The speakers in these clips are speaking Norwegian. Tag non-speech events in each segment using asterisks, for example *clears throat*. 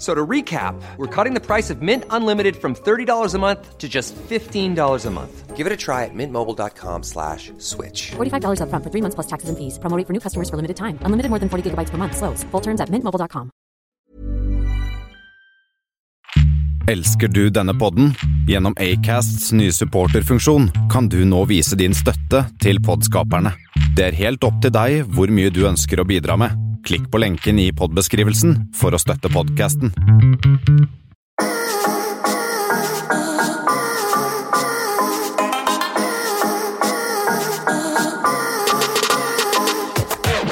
So to recap, we're cutting the price of Mint Unlimited from $30 a month to just $15 a month. Give it a try at mintmobile.com slash switch. $45 upfront for three months plus taxes and fees. Promo rate for new customers for limited time. Unlimited more than 40 gigabytes per month. Slows. Full terms at mintmobile.com. Elsker du denne podden? Gjennom Acasts nye supporterfunksjon kan du nå vise din støtte til podskaperne. Det er helt opp til deg hvor mye du ønsker å bidra med. Klikk på lenken i podbeskrivelsen for å støtte podkasten.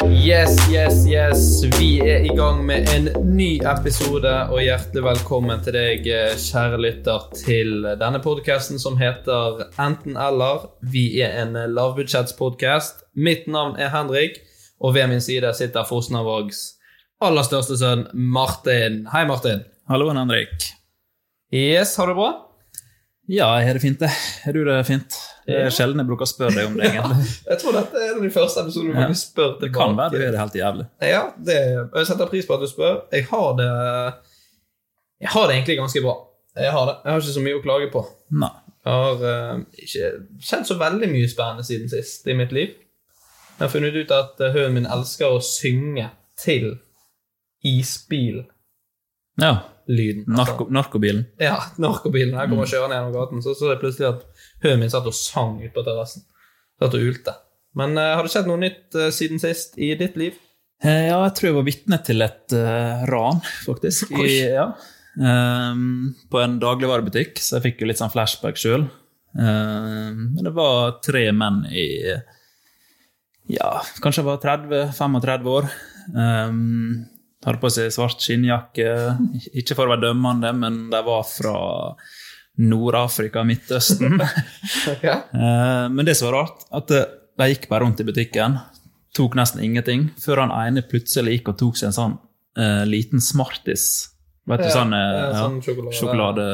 Yes, yes, yes. Vi er i gang med en ny episode, og hjertelig velkommen til deg, eh, kjære lytter, til denne podkasten som heter Enten eller. Vi er en lavbudsjettspodkast. Mitt navn er Henrik, og ved min side sitter Fosnavågs aller største sønn, Martin. Hei, Martin. Hallo, Henrik. Yes, har du det bra? Ja, jeg har det fint, det. Har du det fint? Det er sjelden jeg bruker å spørre deg om det, *laughs* egentlig. Jeg tror dette er en av de første episodene hvor Ja. vi spør Det tilbake. kan være du er det helt jævlig. Ja, det, jeg setter pris på at du spør. Jeg har det Jeg har det egentlig ganske bra. Jeg har det. Jeg har ikke så mye å klage på. Nei. Jeg har eh, ikke kjent så veldig mye spennende siden sist i mitt liv. Jeg har funnet ut at eh, hunden min elsker å synge til isbillyden. Ja. Narko narkobilen. Ja, narkobilen. Jeg kommer kjørende gjennom gaten, så så jeg plutselig at hunden min satt og sang ute på terrassen. Satt og ulte. Men eh, har det skjedd noe nytt eh, siden sist i ditt liv? Eh, Ja, jeg tror jeg var vitne til et eh, ran, faktisk. I, Oi. ja. Ehm, på en dagligvarebutikk, så jeg fikk jo litt sånn flashback sjøl. Men det var tre menn i ja, kanskje jeg var 30-35 år. Ehm, hadde på seg svart skinnjakke. Ikke for å være dømmende, men de var fra Nord-Afrika, Midtøsten. Ja. Eh, Men det som var rart, at eh, de gikk bare rundt i butikken, tok nesten ingenting, før han ene plutselig gikk og tok seg en sånn eh, liten Smarties. Vet du, Ja, sånn, ja, eh, ja, sånn sjokolade. sjokolade.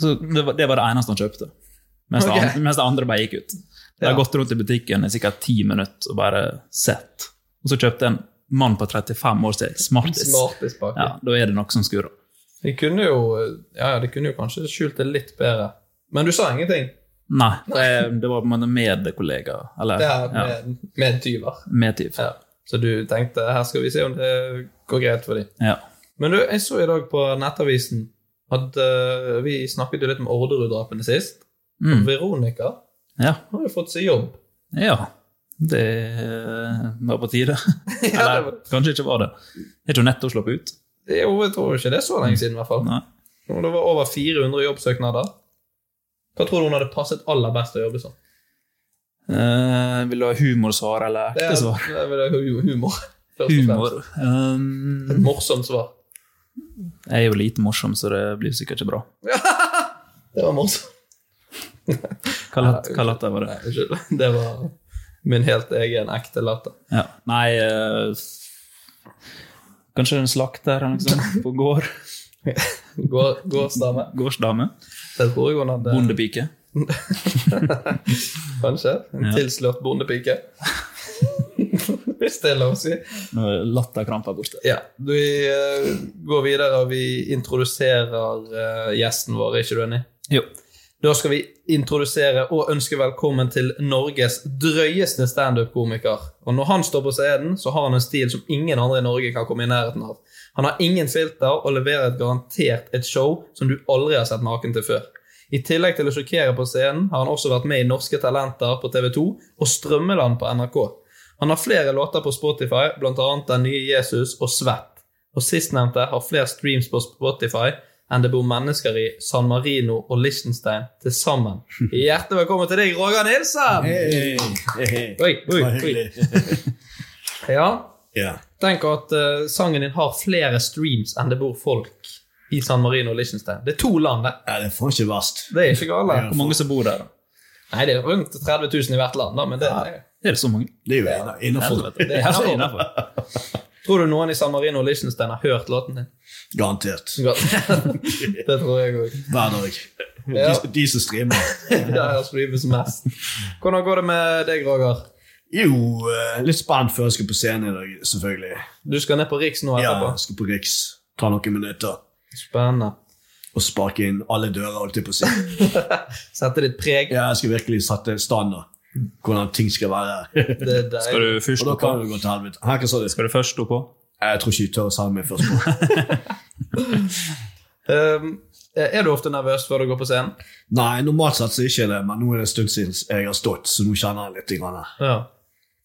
Så det, var, det var det eneste han kjøpte. Mens, Ok. det, andre, mens det andre bare gikk ut. De Ja. har gått rundt i butikken i sikkert ti minutter og bare sett. Og så kjøpte en mann på 35 år seg Smarties. Smartispakke. Ja, da er det noe som skurrer. De kunne jo Ja, ja, de kunne jo kanskje skjult det litt bedre. Men du sa ingenting. Nei, det, det var på en måte medkollega. Eller Det ja, er med, med tyver. medtyv. Ja. Så du tenkte her skal vi se om det går greit for dem. Ja. Men du, jeg så i dag på Nettavisen at eh, vi snakket jo litt om Orderud-drapene sist. Mm. Veronica ja. har jo fått seg jobb. Ja, det var på tide. Ja, det Eller var- kanskje ikke var det. Er ikke hun nettopp sluppet ut? Det er Jo, jeg tror ikke det er så lenge siden, i hvert fall. Nei. Og Det var over 400 jobbsøknader. Hva tror du hun hadde passet aller best å jobbe som? Eh, vil du ha humorsvar eller Det ekte er, svar? det er vel hu- humor. først og fremst. Humor. Et Um, morsomt svar. jeg er jo lite morsom, så det blir sikkert ikke bra. Det var morsomt. Hva latt- hva latter var det? Nei, Unnskyld. Det var min helt egen ekte latter. Ja. Nei eh, Kanskje en slakter eller noe sånt på gård? Går- Gårdsdame. Gårdsdame? Det tror jeg hun hadde. Bondepike? Kanskje. En Ja. *laughs* tilslørt bondepike. Det blir stille å si. Nå er latterkrampa borte. Ja, vi eh, går videre og vi introduserer eh, gjesten vår, er ikke du enig? Jo. Da skal vi introdusere og ønske velkommen til Norges drøyeste standup-komiker. Og når han står på scenen, så har han en stil som ingen andre i Norge kan komme i nærheten av. Han har ingen filter og leverer garantert et show som du aldri har sett maken til før. I tillegg til å sjokkere på scenen har han også vært med i Norske Talenter på TV 2 og Strømmeland på NRK. Han har flere låter på Spotify, bl.a. Den nye Jesus og Svett. Og sistnevnte har flere streams på Spotify enn det bor mennesker i San Marino og Liechtenstein til sammen. Hjertelig velkommen til deg, Roger Nilsen! Oi, oi, oi. Ja, Ja. tenk at eh, sangen din har flere streams enn det bor folk i San Marino og Liechtenstein. Det er to land, det. ja, det får ikke verst. Det er ikke gale. Hvor mange som bor der, da? Nei, det er rundt 30 000 i hvert land, da, men det, Er det så mange? Det er jo inna- innafor. Helvete. Det er innafor. Tror du noen i San Marino og Liechtenstein har hørt låten *laughs* din? Garantert. det tror jeg òg. Hver dag. Ja. De, de som streamer. *laughs* Der streames mest. Hvordan går det med deg, Roger? Jo, eh, litt spent før jeg skal på scenen i dag, selvfølgelig. Du skal ned på Riks nå Ja, etterpå. jeg skal på Riks. Ta noen minutter Spennende. og sparke inn alle dører, holdt jeg på *laughs* å si. Sette ditt preg. Ja, jeg skal virkelig sette standard. Hvordan ting skal være. Det er deg. Skal du Og først da opp på? kan det gå til helvete. Hæ, hva sa du? Skal du først opp på? Jeg tror ikke jeg tør å selge meg først. *laughs* på. Um, er du ofte nervøs før du går på scenen? Nei, normalt sett så er jeg ikke det, men nå er det en stund siden jeg har stått, så nå kjenner jeg litt. Grann. Ja.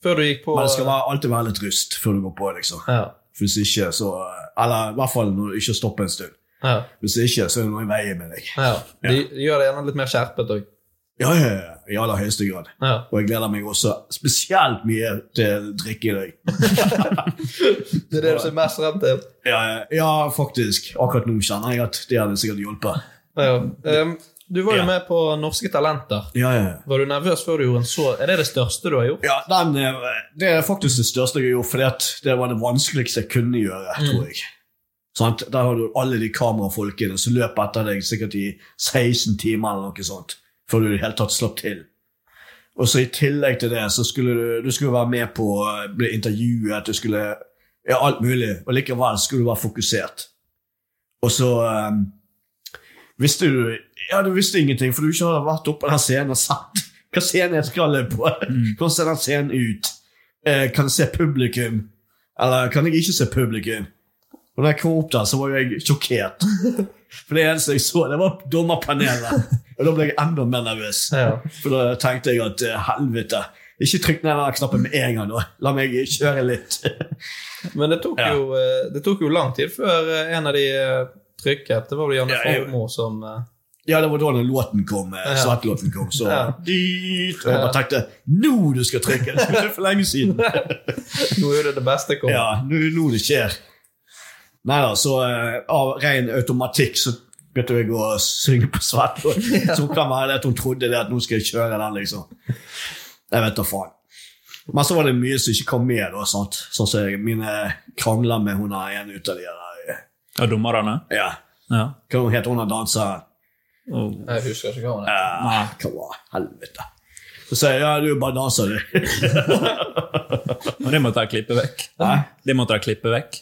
Før du gikk på Men det skal være, alltid være litt rust før du går på, liksom. Ja. Hvis ikke, så eh, Eller i hvert fall når du ikke stopper en stund. ja. Hvis ikke, så er det noe i veien med deg. ja. De, de gjør det gjerne litt mer skjerpet òg. Ja, ja, ja, I aller høyeste grad. Ja. Og jeg gleder meg også spesielt mye til drikke i dag. Det er det du ser mest frem til. Ja, ja, ja, faktisk. Akkurat nå kjenner jeg at det hadde sikkert hjulpet. Ja. Um, du var jo Ja. med på Norske Talenter. Ja, ja, ja. Var du nervøs før du gjorde en så Er det det største du har gjort? Ja, den, eh, Det er faktisk det største jeg har gjort, for det var det vanskeligste jeg kunne gjøre. tror jeg. Sant? Der har du alle de kamerafolkene som løper etter deg sikkert i 16 timer eller noe sånt, før du i det hele tatt slapp til. Og så I tillegg til det så skulle du, du skulle være med på å bli intervjuet, du skulle ja, alt mulig. Og likevel skulle du være fokusert. Og så eh, visste du ja, du visste ingenting, for du ikke hadde vært oppe på den scenen og sett *laughs* hva scenen jeg skal på. Hvordan ser den scenen ut? Eh, kan jeg se publikum? Eller kan jeg ikke se publikum? Og da jeg kom opp der, så var jo jeg sjokkert. For det eneste jeg så, det var dommerpanelet. Og da ble jeg enda mer nervøs. Ja. For da tenkte jeg at eh, helvete, ikke trykk ned den der knappen med en gang nå. La meg kjøre litt. *laughs* Men det tok, Ja. jo, eh, det tok jo lang tid før eh, en av de eh, trykket. Det var vel Janne Ja, jeg- Formoe som eh, Ja, det var da den låten kom, eh, Ja. svettlåten kom, så Ja. dit, Og jeg bare tenkte, nå du skal trykke, det skulle skje for *laughs* lenge siden. gjorde det det beste kom. Ja, nå, nå det skjer. Neida, så eh, av ren automatikk så begynte jeg å synge på svart. *laughs* Så hun kan være det at hun trodde det at nå skal jeg kjøre den, liksom. Jeg vet da faen. Men så var det mye som ikke kom med, da, sant. Sånn som jeg- mine krangler med hun er en ut av de der. eh, Ja, dommerne? Ja, Ja. hva heter hun er danseren? Og, Jeg husker ikke hva han er. Ja, Ah, hva var helvete? Så sier jeg, ja, du er bare danser, du. og det måtte jeg klippe vekk. Hæ? Det måtte jeg klippe vekk.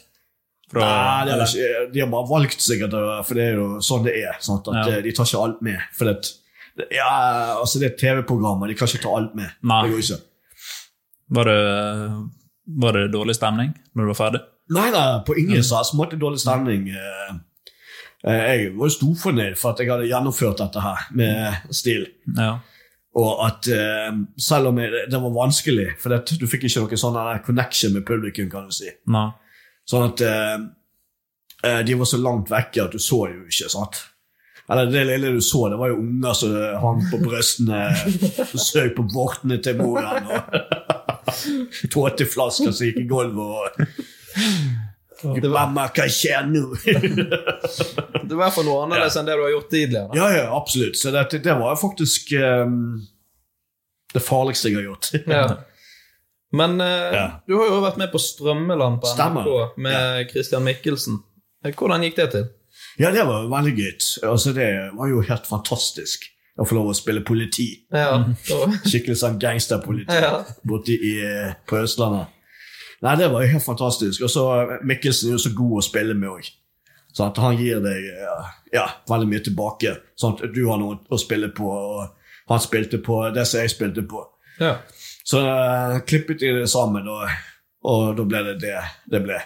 Fra, *laughs* Nei, det er eller- ikke, de har bare valgt sikkert, å- for det er jo sånn det er. Sant? At Ja. eh, De tar ikke alt med. For det, det- ja, altså det er TV-programmer, de kan ikke ta alt med. Nei. Det går ikke. Var det, var det dårlig stemning når du var ferdig? Nei, nei, på ingen slags måte dårlig stemning. Eh, eh, Jeg var jo storfornøyd for at jeg hadde gjennomført dette her med stil. Ja. Og at eh, selv om jeg, det var vanskelig, for det, du fikk ikke noen sånn eh, connection med publikum, kan du si. Nei. Sånn at eh, eh, de var så langt vekke at du så det jo ikke, sant? Eller det lille du så, det var jo unger som hang på brøstene og søk på vortene til moren. og *laughs* Tåteflasker som gikk i gulvet og Det var, Mamma, hva skjer nå? *laughs* det var i hvert fall noe annerledes enn det du har gjort tidligere. ja, ja, absolutt. Så det, det var faktisk eh, det farligste jeg har gjort. Ja. Men eh, Ja. du har jo vært med på Strømmeland på Stemmer. NRK med Christian Mikkelsen. Eh, Hvordan gikk det til? *laughs* Ja, det var veldig gøy. Altså, det var jo helt fantastisk å få lov å spille politi. Ja, det var- Skikkelig sånn gangsterpoliti *laughs* Ja. borte i, på Østlandet. Nei, det var jo helt fantastisk. Og så eh, Mikkelsen er jo så god å spille med òg. Han gir deg eh, ja, veldig mye tilbake. Sånn at du har noe å spille på, og han spilte på det som jeg spilte på. Ja. Så eh, klippet de det sammen, og, og da ble det det det ble.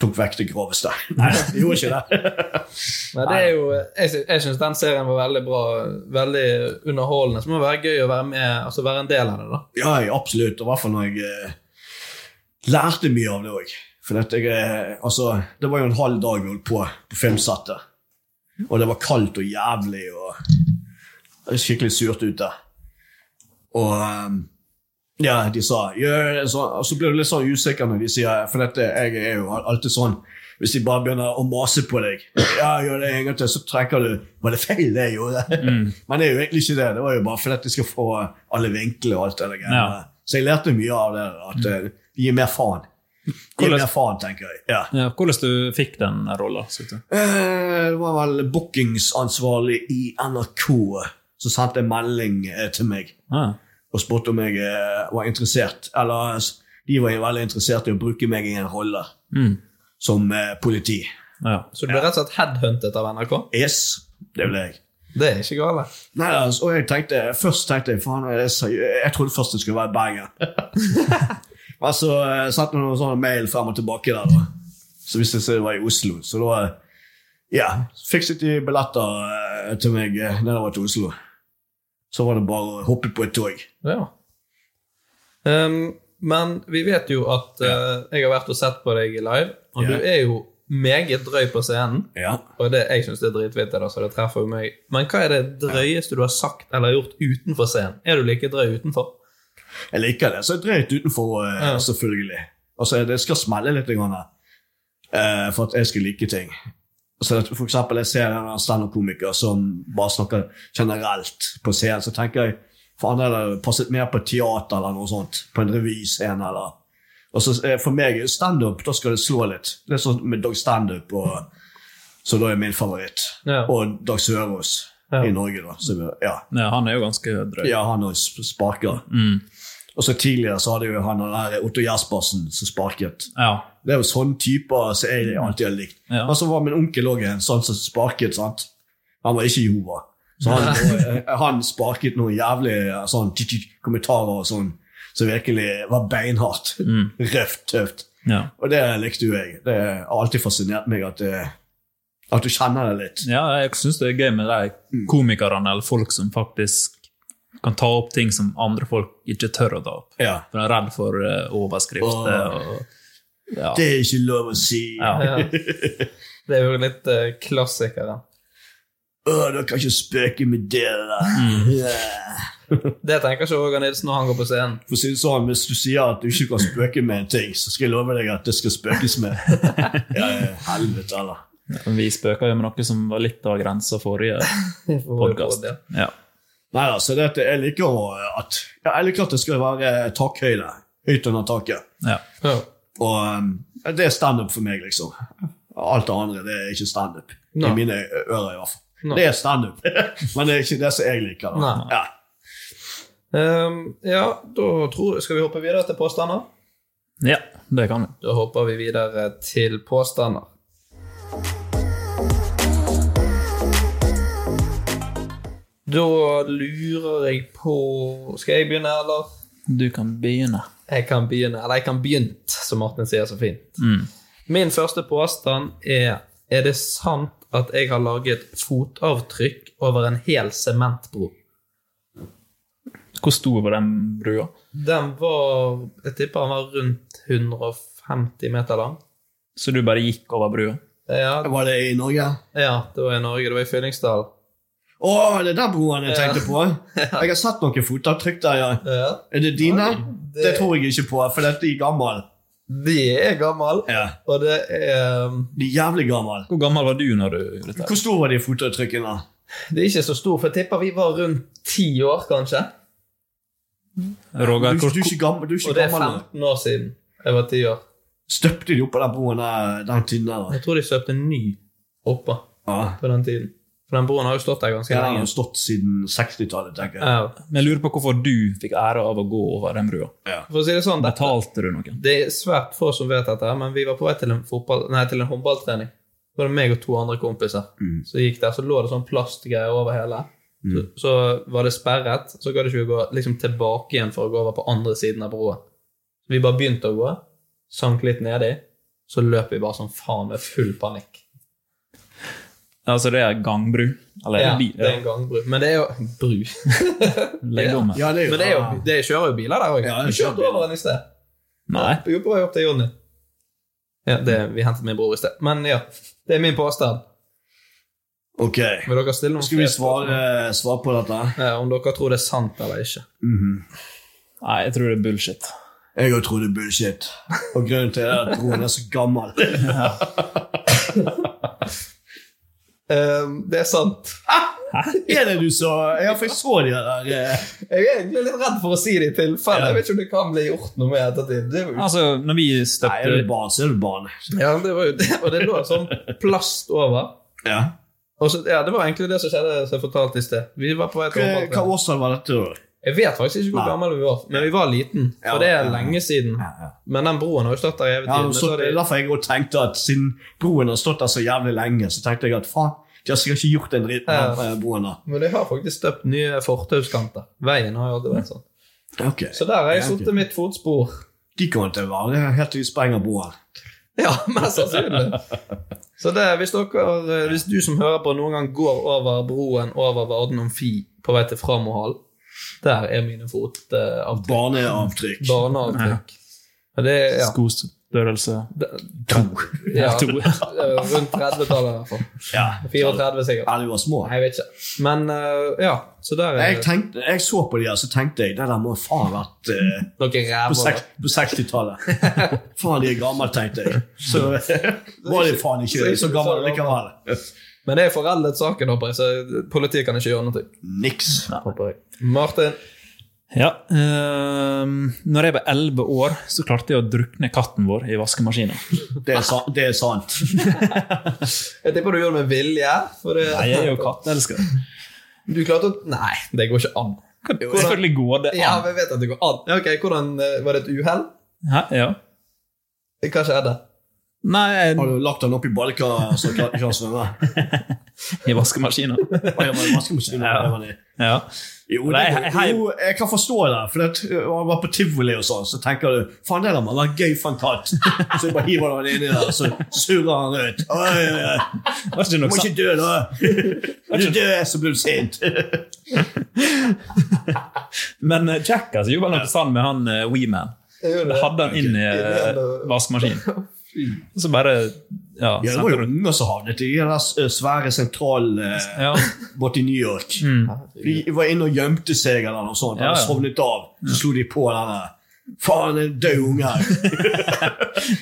Tok vekk det groveste. Nei, de *laughs* gjorde ikke det. Nei, det er jo, jeg sy- jeg syns den serien var veldig bra. Veldig underholdende. Så det må være gøy å være med, altså være en del av det. da. Ja, jeg- absolutt. Og i hvert fall når jeg eh, lærte mye av det òg. For at jeg, eh, altså, det var jo en halv dag vi holdt på på filmsettet. Og det var kaldt og jævlig og det var skikkelig surt ute. Og eh, ja, de sa «Gjør det sånn», Og så blir du litt sånn usikker når de sier For dette, jeg er jo alltid sånn Hvis de bare begynner å mase på deg, ja, gjør det en gang til, så trekker du Var det feil, det jeg gjorde? Mm. *laughs* Men det er jo egentlig ikke det. Det var jo bare fordi at de skal få alle vinkler og alt det der. Ja. greiene. Så jeg lærte mye av det. At eh, gi mer faen. Gi Hvordan- mer faen, tenker jeg. Ja. Ja, hvordan du fikk den rolla? Nei, Eh, Det var vel bookingsansvarlig i NRK som sendte en melding eh, til meg og spurte om jeg eh, var interessert. Eller s- de var jo veldig interessert i å bruke meg i en rolle som eh, politi. ja. Så du ble rett og slett headhuntet av NRK? Yes, det ble jeg. Det er ikke galt. Nei, altså, og jeg tenkte, Først tenkte jeg faen, er det seriø- jeg trodde først det skulle være Bergen. Men så eh, sendte hun noen sånne mail frem og tilbake der, da. Så viste det seg det var i Oslo. Så da eh, ja, fikset de billetter eh, til meg eh, nedover til Oslo. Så var det bare å hoppe på et tog. Ja. Ehm, men vi vet jo at eh, jeg har vært og sett på deg live, og Ja. du er jo meget drøy på scenen. Ja. Og det, jeg syns det er dritvittig, da, så det treffer jo meg. Men hva er det drøyeste du har sagt eller gjort utenfor scenen? Er du like drøy utenfor? Jeg liker det. Så jeg dreit utenfor, eh, Ja. selvfølgelig. Altså, det skal smelle litt grann, eh, for at jeg skal like ting. Så at for eksempel, jeg ser en standup-komiker som bare snakker generelt på scenen, så tenker jeg faen, det hadde passet mer på et teater eller noe sånt. På en revyscene eller og så eh, For meg er jo standup, da skal det slå litt. Det er sånn med Dag Standup, og- så da er min favoritt. Ja. Og Dag Sørås Ja. i Norge, da. Så, vi- ja. Ja, han er jo ganske drøy. Ja, han òg sparker. Mm. Og så tidligere så hadde jo han den der Otto Jespersen som sparket. Ja. Det er jo sånne typer som jeg alltid har likt. Ja. Og så var min onkel òg en sånn som sparket, sant. Han var ikke Jehova. Så han, *laughs* eh, han sparket noen jævlige sånn, tj- tj- kommentarer og sånn som virkelig var beinhardt. Mm. *laughs* Røft, tøft. Ja. Og det likte jo jeg. Det har alltid fascinert meg at, det, at du kjenner det litt. ja, jeg syns det er gøy med de komikerne eller folk som faktisk kan ta opp ting som andre folk ikke tør å ta opp. Ja. For de er redd for eh, overskrifter Åh. og ja. Det er ikke lov å si. ja. Ja. Det er jo litt uh, klassikeren. Åh, du kan ikke spøke med det der. Mm. Yeah. Det tenker ikke Åge Nilsen når han går på scenen. For å si det sånn, hvis du sier at du ikke kan spøke med en ting, så skal jeg love deg at det skal spøkes *laughs* med. ja, ja, helvete, eller. Vi spøka jo med noe som var litt av grensa forrige podkast. Ja. Ja. Nei, altså, dette, jeg liker å- at, ja, jeg liker at det skal være takhøyde, høyt under taket. Ja. Ja. Og um, det er standup for meg, liksom. Alt det andre, det er ikke standup. I Nei. mine ører, i hvert fall. Nei. Det er standup, *laughs* men det er ikke det som jeg liker. Da. Nei. Ja. Ehm, ja, da tror, skal vi hoppe videre til påstander? ja, det kan vi. Da hopper vi videre til påstander. Da lurer jeg på Skal jeg begynne, eller? Du kan begynne. Jeg kan begynne, eller jeg kan begynt, som Martin sier så fint. Min første påstand er Er det sant at jeg har laget fotavtrykk over en hel sementbro? Hvor stor var den brua? Den var Jeg tipper den var rundt 150 meter lang. Så du bare gikk over brua? Ja, Var det i Norge? ja det var i Norge. Det var i Fyllingsdalen. Å, det er der broen jeg tenkte på. *laughs* Jeg har sett noen fotavtrykk der, ja. Ja. Er det dine? det- det... tror jeg ikke på, for dette er gammel. De er gammel, Ja. og det er um, De er jævlig gammel. Hvor gammel var du når du gjorde dette? Hvor stor var de fotavtrykkene? Det er ikke så stor, for jeg tipper vi var rundt ti år, kanskje. Du, Roger, du hvor, er ikke gammel. Du er Og ikke det er gammel. nå. 15 år siden jeg var ti år. Støpte de opp på den broen der, den tiden der? da? Jeg tror de kjøpte en ny oppå Ja. på den tiden. For den broen har jo stått der ganske Den har lenge. jo stått siden 60-tallet, tenker jeg. Ja. Men jeg lurer på hvorfor du fikk æra av å gå over den brua. For å si det sånn, dette, Betalte du noe? det er svært få som vet dette, her, men vi var på vei til en, fotball, nei, til en håndballtrening. Så var det meg og to andre kompiser som gikk der. Så lå det sånn plastgreier over hele. Så, så var det sperret, så gadd ikke vi gå liksom, tilbake igjen for å gå over på andre siden av broa. Så vi bare begynte å gå, sank litt nedi, så løp vi bare sånn faen med full panikk. Altså, det er en gangbru? Eller Ja, en bil? det er en gangbru. Men det er jo Bru. Legg om det. Ja, det er jo, *laughs* Men det, er jo, det kjører jo biler der òg. Ja, vi det kjører kjørte biler. over den i sted. Nei. Jo, på vei opp til Jonny. Ja, det, vi hentet min bror i sted. Men ja, det er min påstand. Ok. Vil dere stille noen Skal vi flere spørsmål? svare, svare på dette? Ja, om dere tror det er sant eller ikke. Nei, jeg tror det er bullshit. Jeg òg tror det er bullshit. Og grunnen til det er at broen er så *laughs* gammel. Ehm, det er sant. Er det du så Ja, for jeg så de der eh, Jeg er egentlig litt redd for å si det i tilfelle. Jeg vet ikke om det kan bli gjort noe med i ettertid. Det var jo- Altså, når vi Nei, er støtter du barn, så er du barn. Ja, det var jo det. *laughs* Og det lå sånn plast over. Ja. Og så, ja, Det var egentlig det som skjedde, som jeg fortalte i sted. Vi var på vei til Hva håndballtrening. hva årstall var dette? da? Jeg vet faktisk ikke hvor Nei. gammel vi var, men vi var liten. Ja, For det ja, er ja. lenge siden. ja. Men den broen har jo stått der i evig Ja, tid. og men så, så er det er det- derfor jeg også tenkte at siden broen har stått der så jævlig lenge, så tenkte jeg at faen, de har sikkert ikke gjort en dritt med den, eh, broen. da. Men jeg har faktisk støpt nye fortauskanter. Veien har jo alltid vært sånn. Ok. Så der har jeg Ja, ok. satt mitt fotspor. *laughs* De kommer til å være helt til de sprenger broen. Ja, mest sannsynlig. Så det, hvis, dere, eh, hvis du som hører på noen gang går over broen over Varden om Fi på vei til Framohall, der er mine fotavtrykk. Barneavtrykk. Barneavtrykk. Og det er ja, skostørrelse ja, *laughs* to. rundt 30-tallet i hvert fall. Ja. 34 sikkert. Ja, de var små. Nei, jeg vet ikke. Men eh, ja, så der er Jeg, tenkte, jeg så på de her, så tenkte jeg det der må faen vært eh, noen på, ræver. sek- på 60-tallet. faen, de er gamle, tenkte jeg. Så eh, var de faen ikke så gamle likevel. Men det er foreldet saken, håper jeg, så politiet kan ikke gjøre noe. Niks. Håper jeg. Martin, Ja. ehm, når jeg var elleve år, så klarte jeg å drukne katten vår i vaskemaskinen. Det er, sa det er sant. jeg tipper du gjør det med vilje. For det, Nei, jeg er jo katteelsker. Du klarte å Nei, det går ikke an. Hvordan, Selvfølgelig går det ja, an. vi vet at det går an. Ja, Ok, hvordan eh, Var det et uhell? Hæ? Ja. Hva skjedde? Nei, Har jeg- du lagt den opp i balka så kan ikke han svømme? *laughs* i vaskemaskinen. Oi, jeg må vaske meg selv. Det var det. Ja. Jo, det, Nei, hei- hei. jo, jeg kan forstå det. For det, når man var på tivoli og sånn, så tenker du faen, det der må være gøy for en *laughs* katt. Så jeg bare hiver den inni der, så surrer han ut. Oi, oi, oi. Var det ikke Du noe må sant? ikke dø, *laughs* da! Når du dør, så blir du sint. Men eh, Jackass gjorde vel noe sånn med han eh, Weeman. Det hadde han inn i eh, vaskemaskinen. Og så bare Ja. Ja, det var jo unger som havnet i den der s- svære sentralen eh, ja. borte i New York. De var inne og gjemte seg eller noe sånt. Mm. Ja, Han ja. sovnet av. Så slo de på den der Faen, en død *laughs* unge her!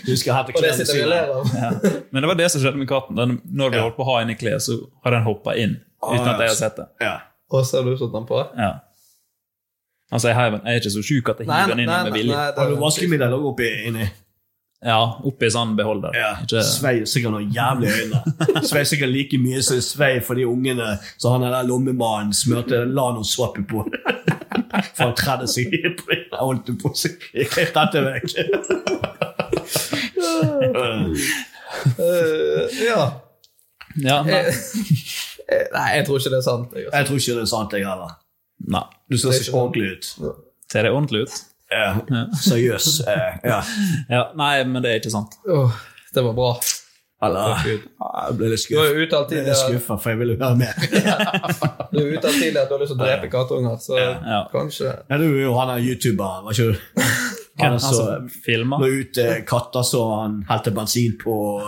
Du skal hente Og det klærne sitter vi og sine. ler av. Men det var det som skjedde med katten. Den, når vi holdt på å ha den i kledet, så har den hoppa inn. Uten at jeg har sett det. Ja. *laughs* Og så har du satt den på? Ja. Altså, jeg, heiv den- jeg er ikke så sjuk at jeg hiver den inn med vilje. det- Har du vaskemiddel òg oppi inni? Ja, oppi sånn beholder. Ja. Ikke, Svei sikkert noen jævlige øyne. Svei sikkert like mye som svei for de ungene så han der lommemannen smurte Lano-såpe på. *laughs* For han tredde seg i på Jeg holdt det på seg. Jeg krev dette *laughs* vekk. Eh, ja. ja, nei. Eh, Nei, jeg tror ikke det er sant. Jeg, altså. Jeg tror ikke det er sant, jeg heller. nei. Du skal Det er se ikke sant. ordentlig ut. Ser det ordentlig ut? sånn. Ja. Seriøs. eh, Ja. Ja, nei, men det er ikke sant. Åh, det var bra. Eller Ja, Jeg ble litt Du har jo skuffet. uttalt Jeg ble litt tidligere skuffet, for jeg ville høre mer. du har uttalt tidligere at du har lyst til å drepe kattunger, så Ja. kanskje Ja, du er jo han der youtuberen, var ikke du? Hvem er Han det som som filmer? la ut eh, katter som han helte *laughs* bensin på,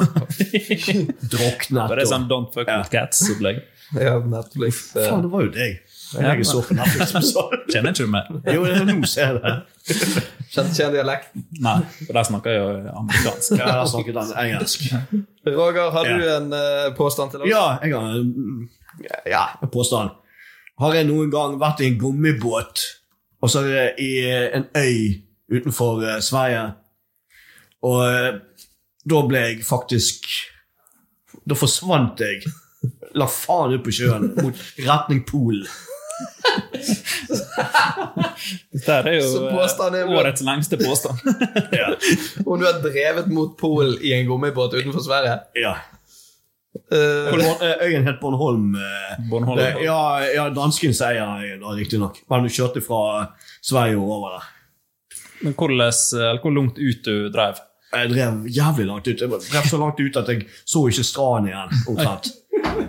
druknet For det er og sånn Don't fuck with cats-opplegg. ja, Netflix eh. Faen, det var jo deg. Jeg så på Netflix som sa det. Kjenner ikke du meg? Jo, det er nå ser jeg det. Kjenn kjenn dialekten. *laughs* Nei, for der snakker jeg jo amerikansk. Ja, der snakket han engelsk. Roger, har du Ja. en eh, påstand til oss? Ja, jeg har en- ja, en påstand. Har jeg noen gang vært i en gummibåt, og så er det i eh, en øy utenfor eh, Sverige, og eh, da ble jeg faktisk Da forsvant jeg la faen ut på sjøen mot retning Polen. Dette er jo Så påstanden er eh, bra. årets lengste påstand. Om du har drevet mot Polen i en gummibåt utenfor Sverige. Ja. Eh, Born- eh, Øyen het Bornholm. eh, Bornholm. det- Ja, ja, dansken sier jeg da, riktignok. Men du kjørte fra Sverige og over der. *laughs* Men hvordan, eh, eller hvor langt ut du drev? Jeg drev jævlig langt ut. Jeg drev så langt ut at jeg så ikke stranden igjen. omtrent.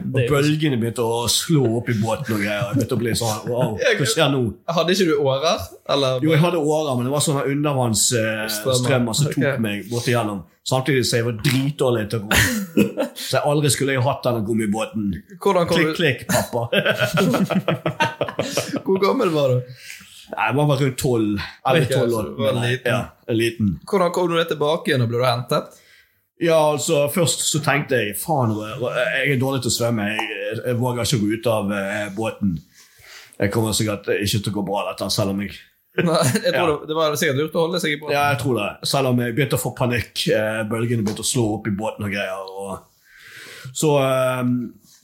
Og bølgene begynte å slå opp i båten og greier. Jeg begynte å bli sånn wow, hva skjer nå? hadde ikke du årer? Eller? Jo, jeg hadde årer, men det var sånne undervannsstrømmer eh, Strømmer. strømmer som tok Ok. meg bort igjennom. Samtidig så jeg var dritdårlig *laughs* til å gå. Så jeg aldri skulle jeg hatt denne gummibåten. Hvordan kom du- Klikk, klikk, pappa. Hvor gammel var du? Nei, Jeg var vel rundt tolv. Eller Ok, tolv så år. du var men jeg- liten. Ja, en liten. Hvordan kom du deg tilbake igjen? og Ble du hentet? *laughs* Ja, altså, først så tenkte jeg faen, jeg er dårlig til å svømme. Jeg, jeg våger ikke å gå ut av eh, båten. Jeg kommer sikkert ikke til å gå bra, dette, selv om jeg Nei, jeg tror Ja. det, det var sikkert lurt å holde seg i båten. Ja, jeg tror det. Selv om jeg begynte å få panikk. eh, Bølgene begynte å slå opp i båten og greier. Og så eh,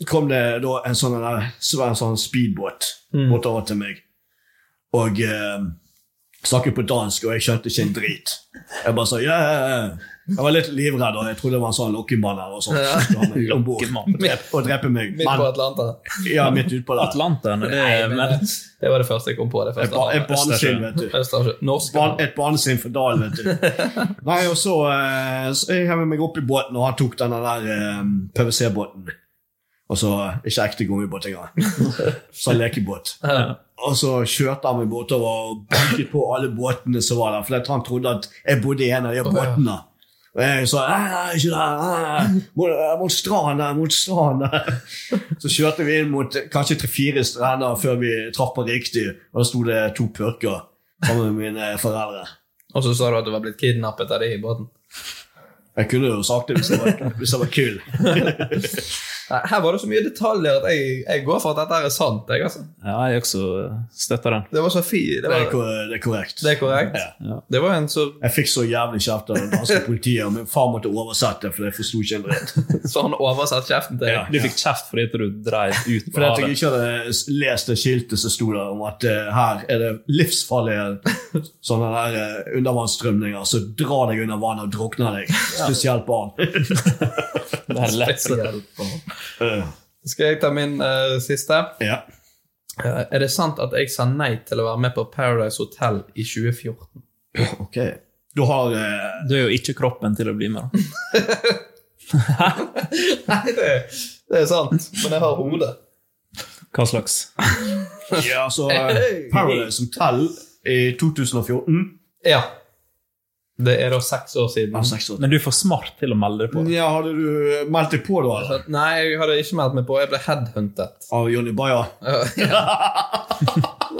kom det da en sånn, der svær sånn speedbåt Mm. bortover til meg. Og eh, snakket på dansk, og jeg skjønte ikke en drit. Jeg bare sa ja, ja, ja. Jeg var litt livredd, og jeg trodde det var en sånn lokkemann eller noe sånt. som skulle ha meg ombord Og drepe meg. Midt på Men, Atlanta. ja, midt ut på der. Atlanteren, det er Men vel det, det var det første jeg kom på. det Et første ba- Et barnesinn, vet du. Østersjø. Norsk. Ban- Et barnesinn for Dahl, vet du. Nei, og så, eh, så jeg hev meg opp i båten, og han tok den der eh, PwC-båten. Og så eh, Ikke ekte gummibåt engang. Så *laughs* lekebåt. Og så kjørte han meg bortover og banket på alle båtene som var der, for jeg tror han trodde at jeg bodde i en av de båtene. Og jeg sa nei, nei, ikke der, nei, nei, mot, mot stranda, mot stranda. *laughs* Så kjørte vi inn mot kanskje tre-fire strender før vi traff på riktig, og da sto det to purker sammen med mine foreldre. Og så sa du at du var blitt kidnappet av de i båten. Jeg kunne jo sagt det hvis jeg var, *laughs* hvis jeg var kul. Nei, her var det så mye detaljer at jeg, jeg går for at dette her er sant. Jeg, altså. Ja, jeg også eh, støtter den. Det var så fi, det, Det er, var, kor- det er korrekt. det er korrekt. Det var en så, Jeg fikk så jævlig kjeft av det danske politiet, og min far måtte oversette, for jeg forsto ikke en dritt. så han oversatte sånn kjeften til Du fikk kjeft *laughs* fordi at du dreiv ut på Fordi at jeg havet. ikke hadde s- lest det skiltet som sto der om at eh, her er det *laughs* livsfarlige sånne der eh, undervannsstrømninger som drar deg under vann og drukner deg. Spesielt barn. Det er lett for deg. Skal jeg ta min eh, siste? ja. Eh, er det sant at jeg sa nei til å være med på Paradise Hotel i 2014? Ok. Du har eh, Du er jo ikke kroppen til å bli med, da. *laughs* Nei, det, det er sant, men jeg har hodet. Hva slags? Ja, så eh, Paradise Hotel i 2014. Ja. Det er da seks år siden. Ja, seks år. Men du er for smart til å melde deg på. Mm. Ja, hadde du eh, meldt deg på da? eller? Så, Nei, jeg hadde ikke meldt meg på. Jeg ble headhuntet. Av Johnny Bayer?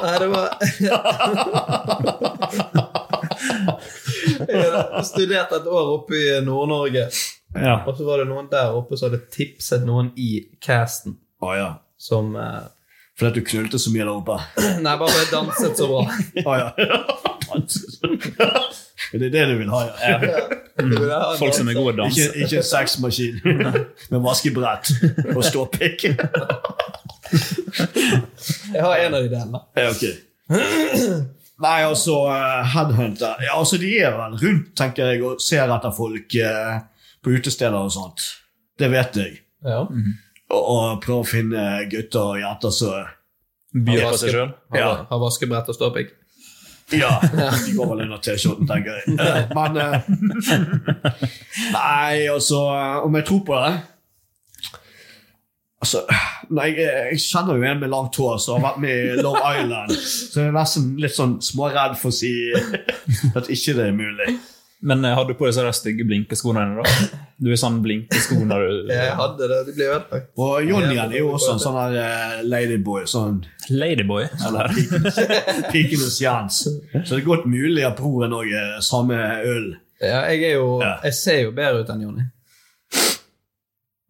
Nei, det var Jeg studerte et år oppe i Nord-Norge, Ja. og så var det noen der oppe som hadde tipset noen i casten Å ja. som eh, *clears throat* Fordi at du knulte så mye der oppe? Nei, bare fordi jeg danset så bra. Å *laughs* ja. Er det det du vil ha? Ja. Mm. Folk som er gode Ikke, dansere. ikke en sexmaskin, *laughs* men vaskebrett og ståpikk. Jeg har en av de delene. *laughs* Ja, ok. Nei, altså eh, Headhunter ja, altså De er vel rundt, tenker jeg, og ser etter folk eh, på utesteder og sånt. Det vet jeg. Ja. Og, og prøver å finne gutter og jenter som Byr på seg sjøl. Har, Ja. har vaskebrett og ståpikk. *laughs* Ja, de går vel under T-skjorten, tenker jeg. Eh, Men eh, *laughs* Nei, altså eh, Om jeg tror på det Altså, nei, jeg, jeg kjenner jo en med langt hår som har vært med i Love Island. Så jeg er nesten litt sånn småredd for å si at ikke det er mulig. Men eh, har du på deg sånne stygge blinkeskoene dine, da? Du er sånn blinkesko når du Jeg hadde det. Det ble ødelagt. Og Johnny er jo også en sånn her eh, ladyboy. Sånn Ladyboy, eller? pikenes, *laughs* pikenes Jens. Så det er godt mulig at broren òg er samme øl. Ja, jeg er jo Ja. Jeg ser jo bedre ut enn Jonny.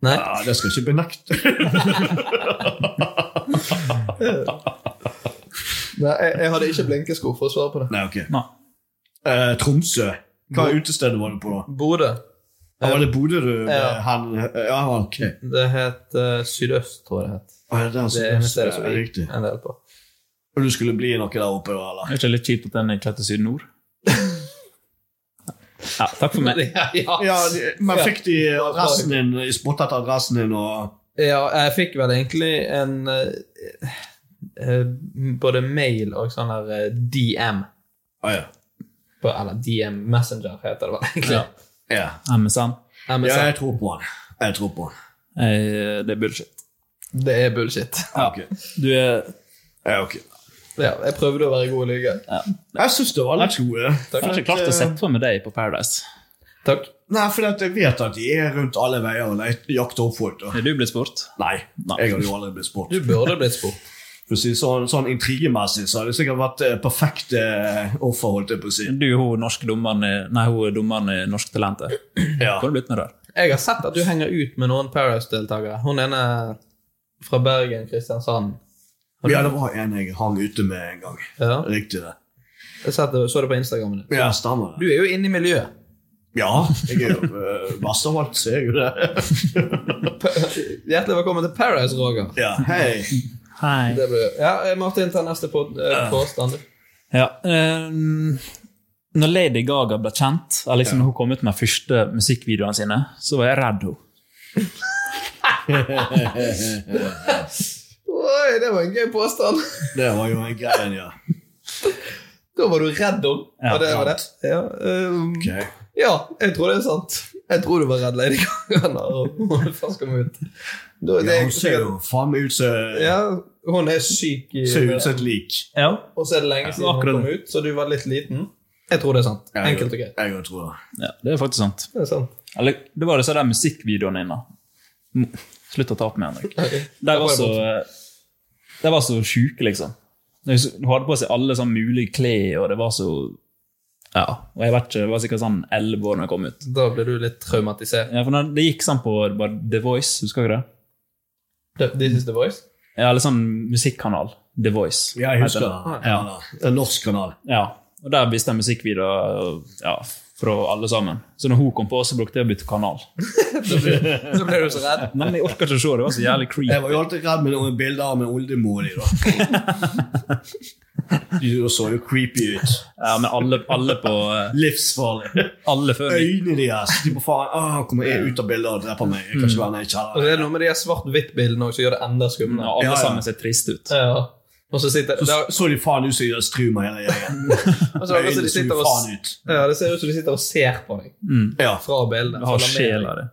Nei? Ja, det skal jeg ikke benekte. Nei, jeg, jeg hadde ikke blinkesko for å svare på det. Nei, ok. Nei. Eh, Tromsø. Hva utestedet var du på da? Bodø. Ja, var det Bodø du Ja. han, eh, Ja, ok. Det het eh, Sydøst, tror jeg det het. Ja, det er der som- Det investeres ja, vi riktig. en del på. Og du skulle bli noe der oppe, eller? Er ikke det litt kjipt at den ikke heter Syd-Nord? ja, takk for meg. Ja, ja. Ja, de- men fikk de adressen din, de spottet adressen din og Ja, jeg fikk vel egentlig en eh, eh, Både mail og sånn der eh, DM. Å ja. På, eller DM Messenger, heter det vel egentlig. Ja. Ja. MSN. MSN. ja, jeg tror på han. Jeg tror på han. Eh, det er bullshit. Det er bullshit. Ja, ok. Du er Ja, ok. Ja, jeg prøvde å være god i lyge. Jeg syns det var litt gode. Jeg har ikke klart å sette på med deg på Paradise. Takk. Nei, for at jeg vet at de er rundt alle veier og leit- jakter opp folk. Da. Er du blitt spurt? Nei, jeg hadde jo aldri blitt spurt. Du burde blitt spurt. For å si Sånn, sånn intrigemessig så hadde jeg sikkert vært eh, perfekt eh, offer, holdt jeg på å si. Du er hun norske dommeren i, nei, hun er dommeren i Norsk Talent. der. Ja. Kunne blitt med der. Jeg har sett at du henger ut med noen Paradise-deltakere. Hun ene fra Bergen, Kristiansand. ja, det var en jeg hang ute med en gang. Ja. Riktig det. Jeg så det, så det på Instagrammen din. Ja, stemmer Du det. er jo inne i miljøet. Ja, jeg er jo eh, verst av alt, så er jeg jo det. *laughs* Hjertelig velkommen til Paradise, Roger. Ja, hei. Hei. Det blir, ja, eh, Martin, ta neste pod- Ah. eh, påstand. Ja, eh, når Lady Gaga ble kjent, eller liksom når hun kom ut med de første musikkvideoene sine, så var jeg redd hun. Oi, det var en gøy påstand. *laughs* Det var jo en grei en, ja. Da var du redd om. Ja, og det var det. Ja, um, Ok. ja, jeg tror det er sant. Jeg tror du var redd *laughs* Lady Gaga når hun først kom ut. Da, Ja, hun ser jo faen meg ut som Ja, hun er syk i Ser ut som et lik. Ja. Og så er det lenge siden hun akkurat. kom ut, så du var litt liten. Jeg tror det er sant. Jeg- Enkelt og greit. Jeg tror det. ja, det er faktisk sant. Det er sant. Eller, det var disse der musikkvideoene dine. Mm, Slutt å ta opp med Henrik. De var så, de var så sjuke, liksom. Hun hadde på seg alle sånn mulige klær, og det var så Ja. Og jeg vet ikke, jeg var sikkert sånn elleve år når jeg kom ut. Da ble du litt traumatisert. Ja, for når Det gikk sånn på bare The Voice, husker du det? This is the voice? Ja, Eller sånn musikkanal. The Voice. Ja, jeg husker heter det. Ja. Det er en norsk kanal. den. Ja, og Der viste jeg musikkvideoer ja, fra alle sammen. Så når hun kom på, så brukte jeg å bytte kanal. Så ble du så redd. *laughs* Nei, men jeg orker ikke å se, det var så jævlig creepy. Jeg var jo alltid redd med noen bilder av min oldemor i da. Du så jo creepy ut. Ja, men alle, alle på *laughs* eh, Livsfarlig. Alle før meg. Øynene deres De på faen, ah, kommer jeg ut av bildet og dreper meg? Jeg kan ikke være nede Mm. i Og kjelleren. det er noe med de her svart-hvitt-bildene også som gjør det enda Ja, skumlere. alle Ja, ja. sammen ser triste ut. Ja. Og så sitter Så, da, så de faen ut som de strumer hele *laughs* gjengen. og så, altså, Øynene de så sitter jo og, faen ut. ja, Det ser ut som de sitter og ser på deg Ja. fra bildet. Har Følger med sjel deg. av det.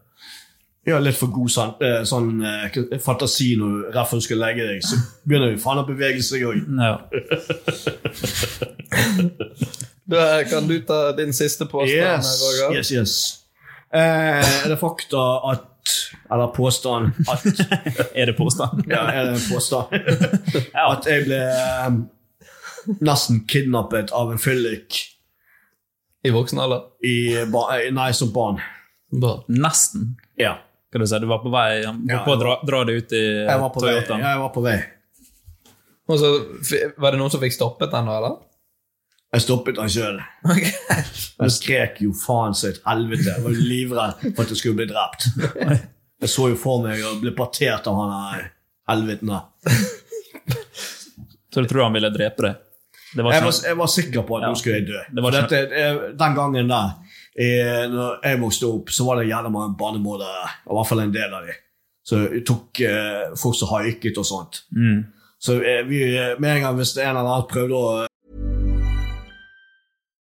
Jeg har litt for god sånn, eh, sånn eh, fantasi når Raffen skal legge deg, så begynner du faen å bevege seg òg. Ja. Da kan du ta din siste påstand, Yes, Roger. yes, yes. Eh, er det fakta at Eller påstand at Er *laughs* det påstand? Ja, er det en påstand? Ja. At jeg ble eh, nesten kidnappet av en fyllik I voksen alder. i ba- eh, Nei, som barn. Bra. Nesten. Ja. Hva du si, du var på vei han var Ja, på å jeg dra, dra det ut i Jeg var på vei. Toyotaen? Jeg, var på vei. Og så f- Var det noen som fikk stoppet den, da, eller? jeg stoppet han sjøl. Ok. Jeg skrek jo faen så et helvete. Jeg var jo livredd for at jeg skulle bli drept. Jeg så jo for meg å bli partert av han her helveten der. Så du tror han ville drepe deg? Det var Jeg ikke var, jeg var sikker på at Ja. nå skulle jeg dø. Det var For ikke- dette, eh, den gangen der, eh, når jeg vokste opp, så var det gjerne mange barnemordere. I hvert fall en del av dem. Så jeg tok eh, folk som haiket og sånt. Mm. Så eh, vi, eh, med en gang hvis en eller annen prøvde å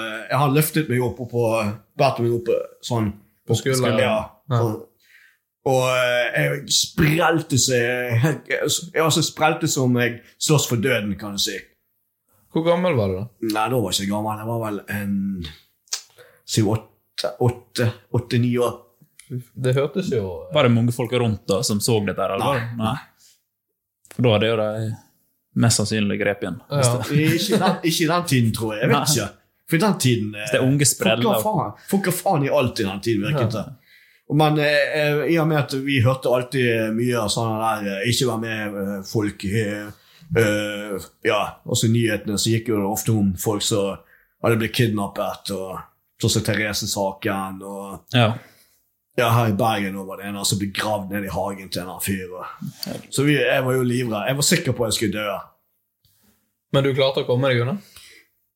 Eh, Jeg har løftet meg opp og på båret meg opp eh, sånn. På skulderen? Ja. Ja. Og, og eh, jeg sprelte seg Jeg jeg var så sprelte som jeg slåss for døden, kan du si. Hvor gammel var du da? Nei, da var jeg ikke gammel. Jeg var vel en Si åtte- åtte- åtte-ni år. Det hørtes jo Var det mange folk rundt da som så dette? her, Eller? Nei. Nei. For da hadde jo de mest sannsynlig grep igjen. Ja. ikke, i den, ikke i den tiden, tror jeg. Jeg vet Nei. ikke. For i den tiden eh, Så det er unge spreller. Folk har faen, folk har faen i alt i den tiden, virket Ja. det. Og Men eh, eh, i og med at vi hørte alltid mye av sånne der eh, ikke være med-folk Ja, også i nyhetene så gikk jo det ofte om folk som hadde blitt kidnappet, og sånn som Therese-saken, og Ja. ja, her i Bergen nå var det en som ble gravd ned i hagen til en eller annen fyr. Og. Så vi, jeg var jo livredd. Jeg var sikker på at jeg skulle dø. Men du klarte å komme deg unna?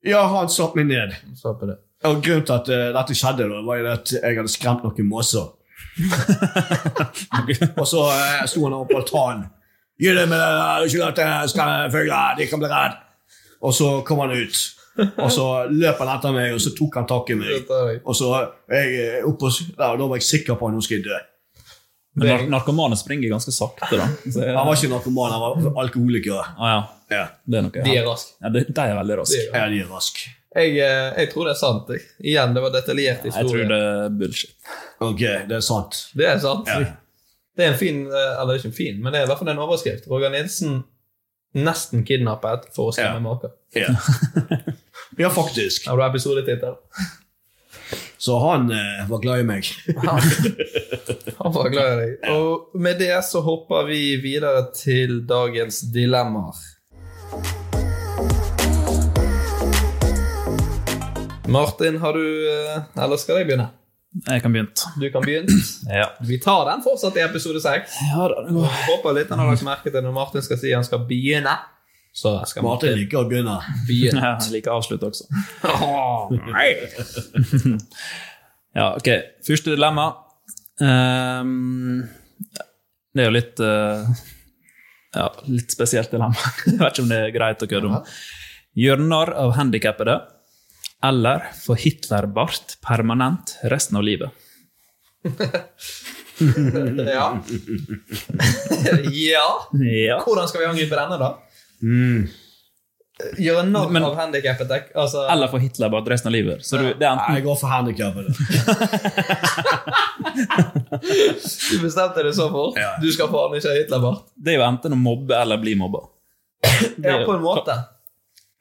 Ja, han slapp meg ned. Slapp det. Og grunnen til at eh, dette skjedde, da, var jo det at jeg hadde skremt noen måser. og så eh, sto han over på altanen. Gi det med det der, ikke lov til skal- fugler, de kan bli redd. Og så kom han ut. Og så løp han etter meg, og så tok han tak i meg. Og så jeg, eh, opp på, s- der, og da var jeg sikker på at nå skal jeg dø. Men nar narkomane springer ganske sakte, da. Så- Han var ikke narkoman, han var alkoholiker. ah, ja. Det er noe. De er raske. Ja, de, de er veldig raske. De er raske. Ja, de er raske. Jeg, eh, jeg tror det er sant. jeg. Igjen, det var detaljert Jeg tror historie. det er bullshit. Ok, det er sant. Det er sant. Det er en fin, eh, eller ikke en fin, men det er i hvert fall en overskrift. Roger Nilsen nesten kidnappet for å skremme maken. Ja. ja, faktisk. Har du episodetittel? Så han eh, var glad i *laughs* meg. Han var glad i deg. Og med det så hopper vi videre til dagens dilemmaer. Martin, har du eh, Eller skal jeg begynne? Jeg kan begynne. Du kan begynne. Ja. Vi tar den fortsatt i episode 6. Håper litt han har lagt merke til når Martin skal si han skal begynne. Så jeg skal Martin liker å begynne. Begynn. *laughs* Ja, jeg liker avslutt også. Nei. Ja, ok. Første dilemma. Ehm, det er jo litt eh, Ja, litt spesielt dilemma. *laughs* Jeg vet ikke om det er greit å kødde om. Gjøre narr av handikappede eller få Hitlerbart permanent resten av livet? ja. ja. Ja. Hvordan skal vi angripe denne, da? Mm. Gjøre narr av handikappede? Altså, Eller få Hitlerbart resten av livet? Så du, det er enten Jeg går for handikappede. du bestemte det så fort? Du skal faen ikke ha Hitlerbart? Det er jo enten å mobbe eller bli mobba. Ja, på en måte.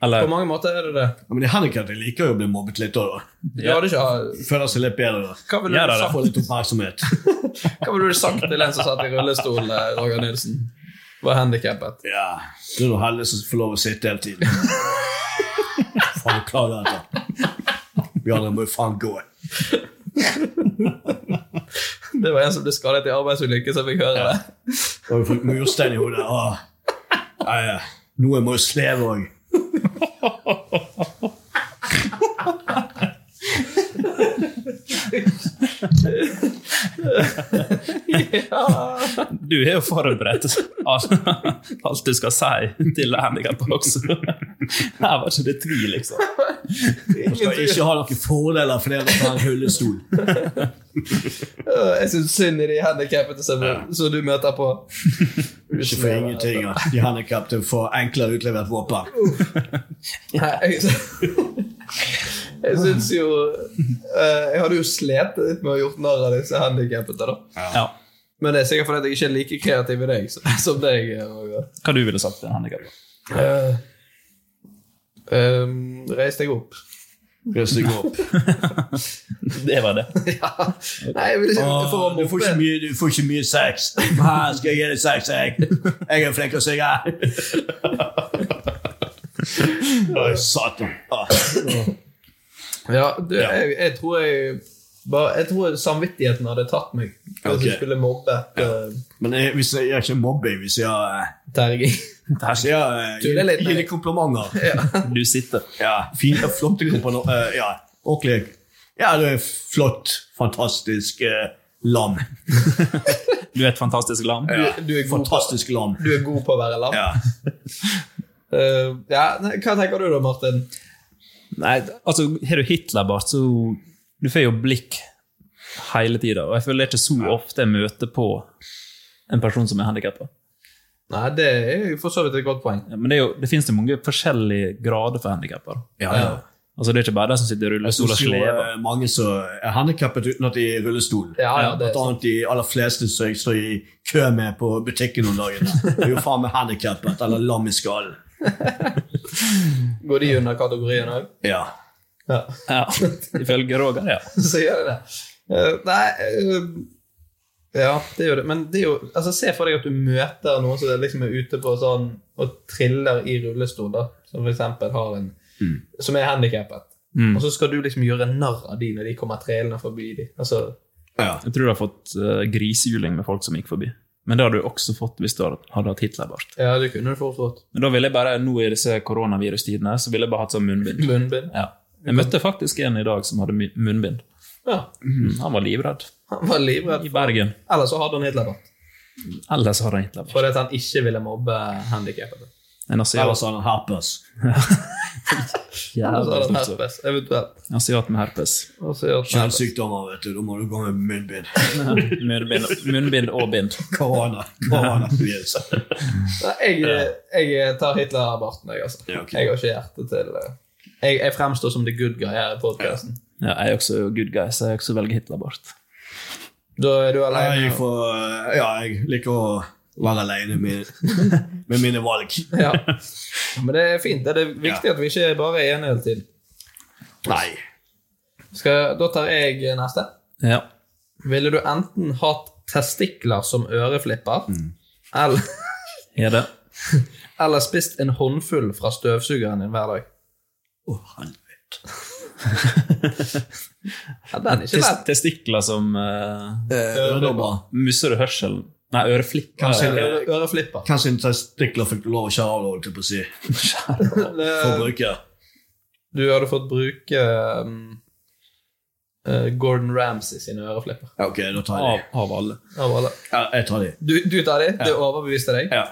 På mange måter er det det. Ja, men Handikap liker jo å bli mobbet litt òg. Ja, det er Føler seg litt bedre. da. Hva ville du da, da. sagt? Får litt oppmerksomhet. Hva ville du sagt til en som satt i rullestol, eh, Roger Nilsen? Var handikappet? Ja, du er noe heldig som får lov å sitte hele *laughs* tiden. faen, klar dette. Vi andre må jo faen gå. Det var en som ble skadet i arbeidsulykke, som fikk høre det. Da har vi fått murstein i hodet. Ah. Ja, ja. Noen må jo sleve òg. ja. Du har jo forberedt alt alt du skal si til handikappede også. Her var ikke det tvil, liksom. Man skal ikke ha noen fordeler fordi man har en rullestol. Øh, Jeg syns synd i de handikappede som, som du møter på. Ikke for ingenting. ja. De handikappede får enklere utlevert våpen. Nei, jeg *laughs* jeg syns jo øh, Jeg hadde jo slet litt med å gjort narr av disse handikappede, da. Ja. Men det er sikkert fordi jeg ikke er like kreativ i deg som, som deg. eh, Roger. Hva du ville sagt til en handikappet? Øh, øhm, Ehm, reis deg opp. Reis deg *laughs* opp. det var det. Nei, jeg vil ikke for å Åh, Ah, du, får ikke mye, du får ikke mye sex. Her skal jeg gi deg sex, jeg. Jeg er flink til å *laughs* synge. Oi, satan. Ah. Ja, du, Jeg, jeg tror jeg bare, Jeg tror samvittigheten hadde tatt meg hvis Ok. jeg skulle mobbe. øh, Men jeg, hvis jeg, jeg er ikke mobbing, hvis jeg eh, Terging. hvis jeg, eh, Tuller litt med Gi gi deg. deg komplimenter. Du sitter. Ja, fine, flotte komplimenter. Eh, Ja, ordentlig. Ja, du er flott, fantastisk eh, lam. Du er et fantastisk lam. Ja, *laughs* du er god på- fantastisk lam. Du er god på å være lam. Ja. Eh, ja, nei, hva tenker du da, Martin? Nei, altså, har du Hitlerbart, så Du får jo blikk hele tida. Og jeg føler det er ikke så ofte jeg møter på en person som er handikappa. Nei, det er jo for så vidt et godt poeng. Men det, er jo, det finnes jo mange forskjellige grader for handikapper. Ja, ja. Altså, det er ikke bare de som sitter i Jeg rullestol og synes jo slever. eh, mange som er handikappet uten at de er i rullestol. Eh, Ja, ja, det er Blant annet de aller fleste som jeg står i kø med på butikken om *laughs* dagen. Det er jo faen meg handikappet eller lam i skallen. Går de under kategorien òg? Ja. Ja. Ja, ifølge Roger, ja. *laughs* Så gjør de det. Eh, nei eh, Ja, det gjør det. Men det er jo altså, Se for deg at du møter noen som liksom er ute på sånn og triller i rullestol, da. Som for eksempel har en som er handikappet. Mm. Og så skal du liksom gjøre narr av de når de kommer trillende forbi de. Altså, Jeg tror du har fått uh, grisehjuling med folk som gikk forbi. Men det hadde du også fått hvis du hadde hadde hatt Hitlerbart. ja, du kunne fort fått Men da ville jeg bare, nå i disse koronavirustidene, så ville jeg bare hatt sånn munnbind. munnbind. *laughs* Ja. Jeg møtte faktisk en i dag som hadde mu- munnbind. Ja, Mm, han var livredd. Han var livredd. I Bergen. Eller så hadde han Hitlerbart. Ellers har han Hitlerbart. Fordi at han ikke ville mobbe handikappede. En Eller asiat, så har han sånn herpes. Og så jævla hadde han stort sett. herpes, eventuelt. asiat med herpes. Og så gjør han herpes. Kjønnssykdommer, vet du. Da må du gå med munnbind. *laughs* Munnbind, munnbind og bind. Korona. Koronavirus. Nei, Jeg, jeg tar Hitler-barten, jeg, altså. Ja, ok. Jeg har ikke hjerte til eh, jeg, jeg fremstår som the good guy her i podkasten. Ja, jeg er også good guy, så jeg også velger Hitlerbart. Da er du Nei, Jeg, alene. får, eh, ja, jeg liker å være aleine med, med mine valg. Ja. Men det er fint. Det er viktig at vi ikke bare er enige hele tiden. Nei. Skal, da tar jeg neste. Ja. Ville du enten hatt testikler som øreflipper, Mm. eller, Er det? eller spist en håndfull fra støvsugeren din hver dag? Å, helvete. Ja, den er ikke Tes- lett. Testikler som uh, Øredommer. musser du hørselen? Nei, øreflikker. Kanskje- Øre- Eh, Øreflipper. Kanskje en testikler fikk lov å skjære av, holdt jeg på å si. For å bruke. Du hadde fått bruke um, eh, Gordon Ramsay sine øreflipper. Ja, ok, da tar jeg Av, de. av alle. Av alle. Ja, jeg tar de. Du, du tar de, det overbeviste deg. Ja.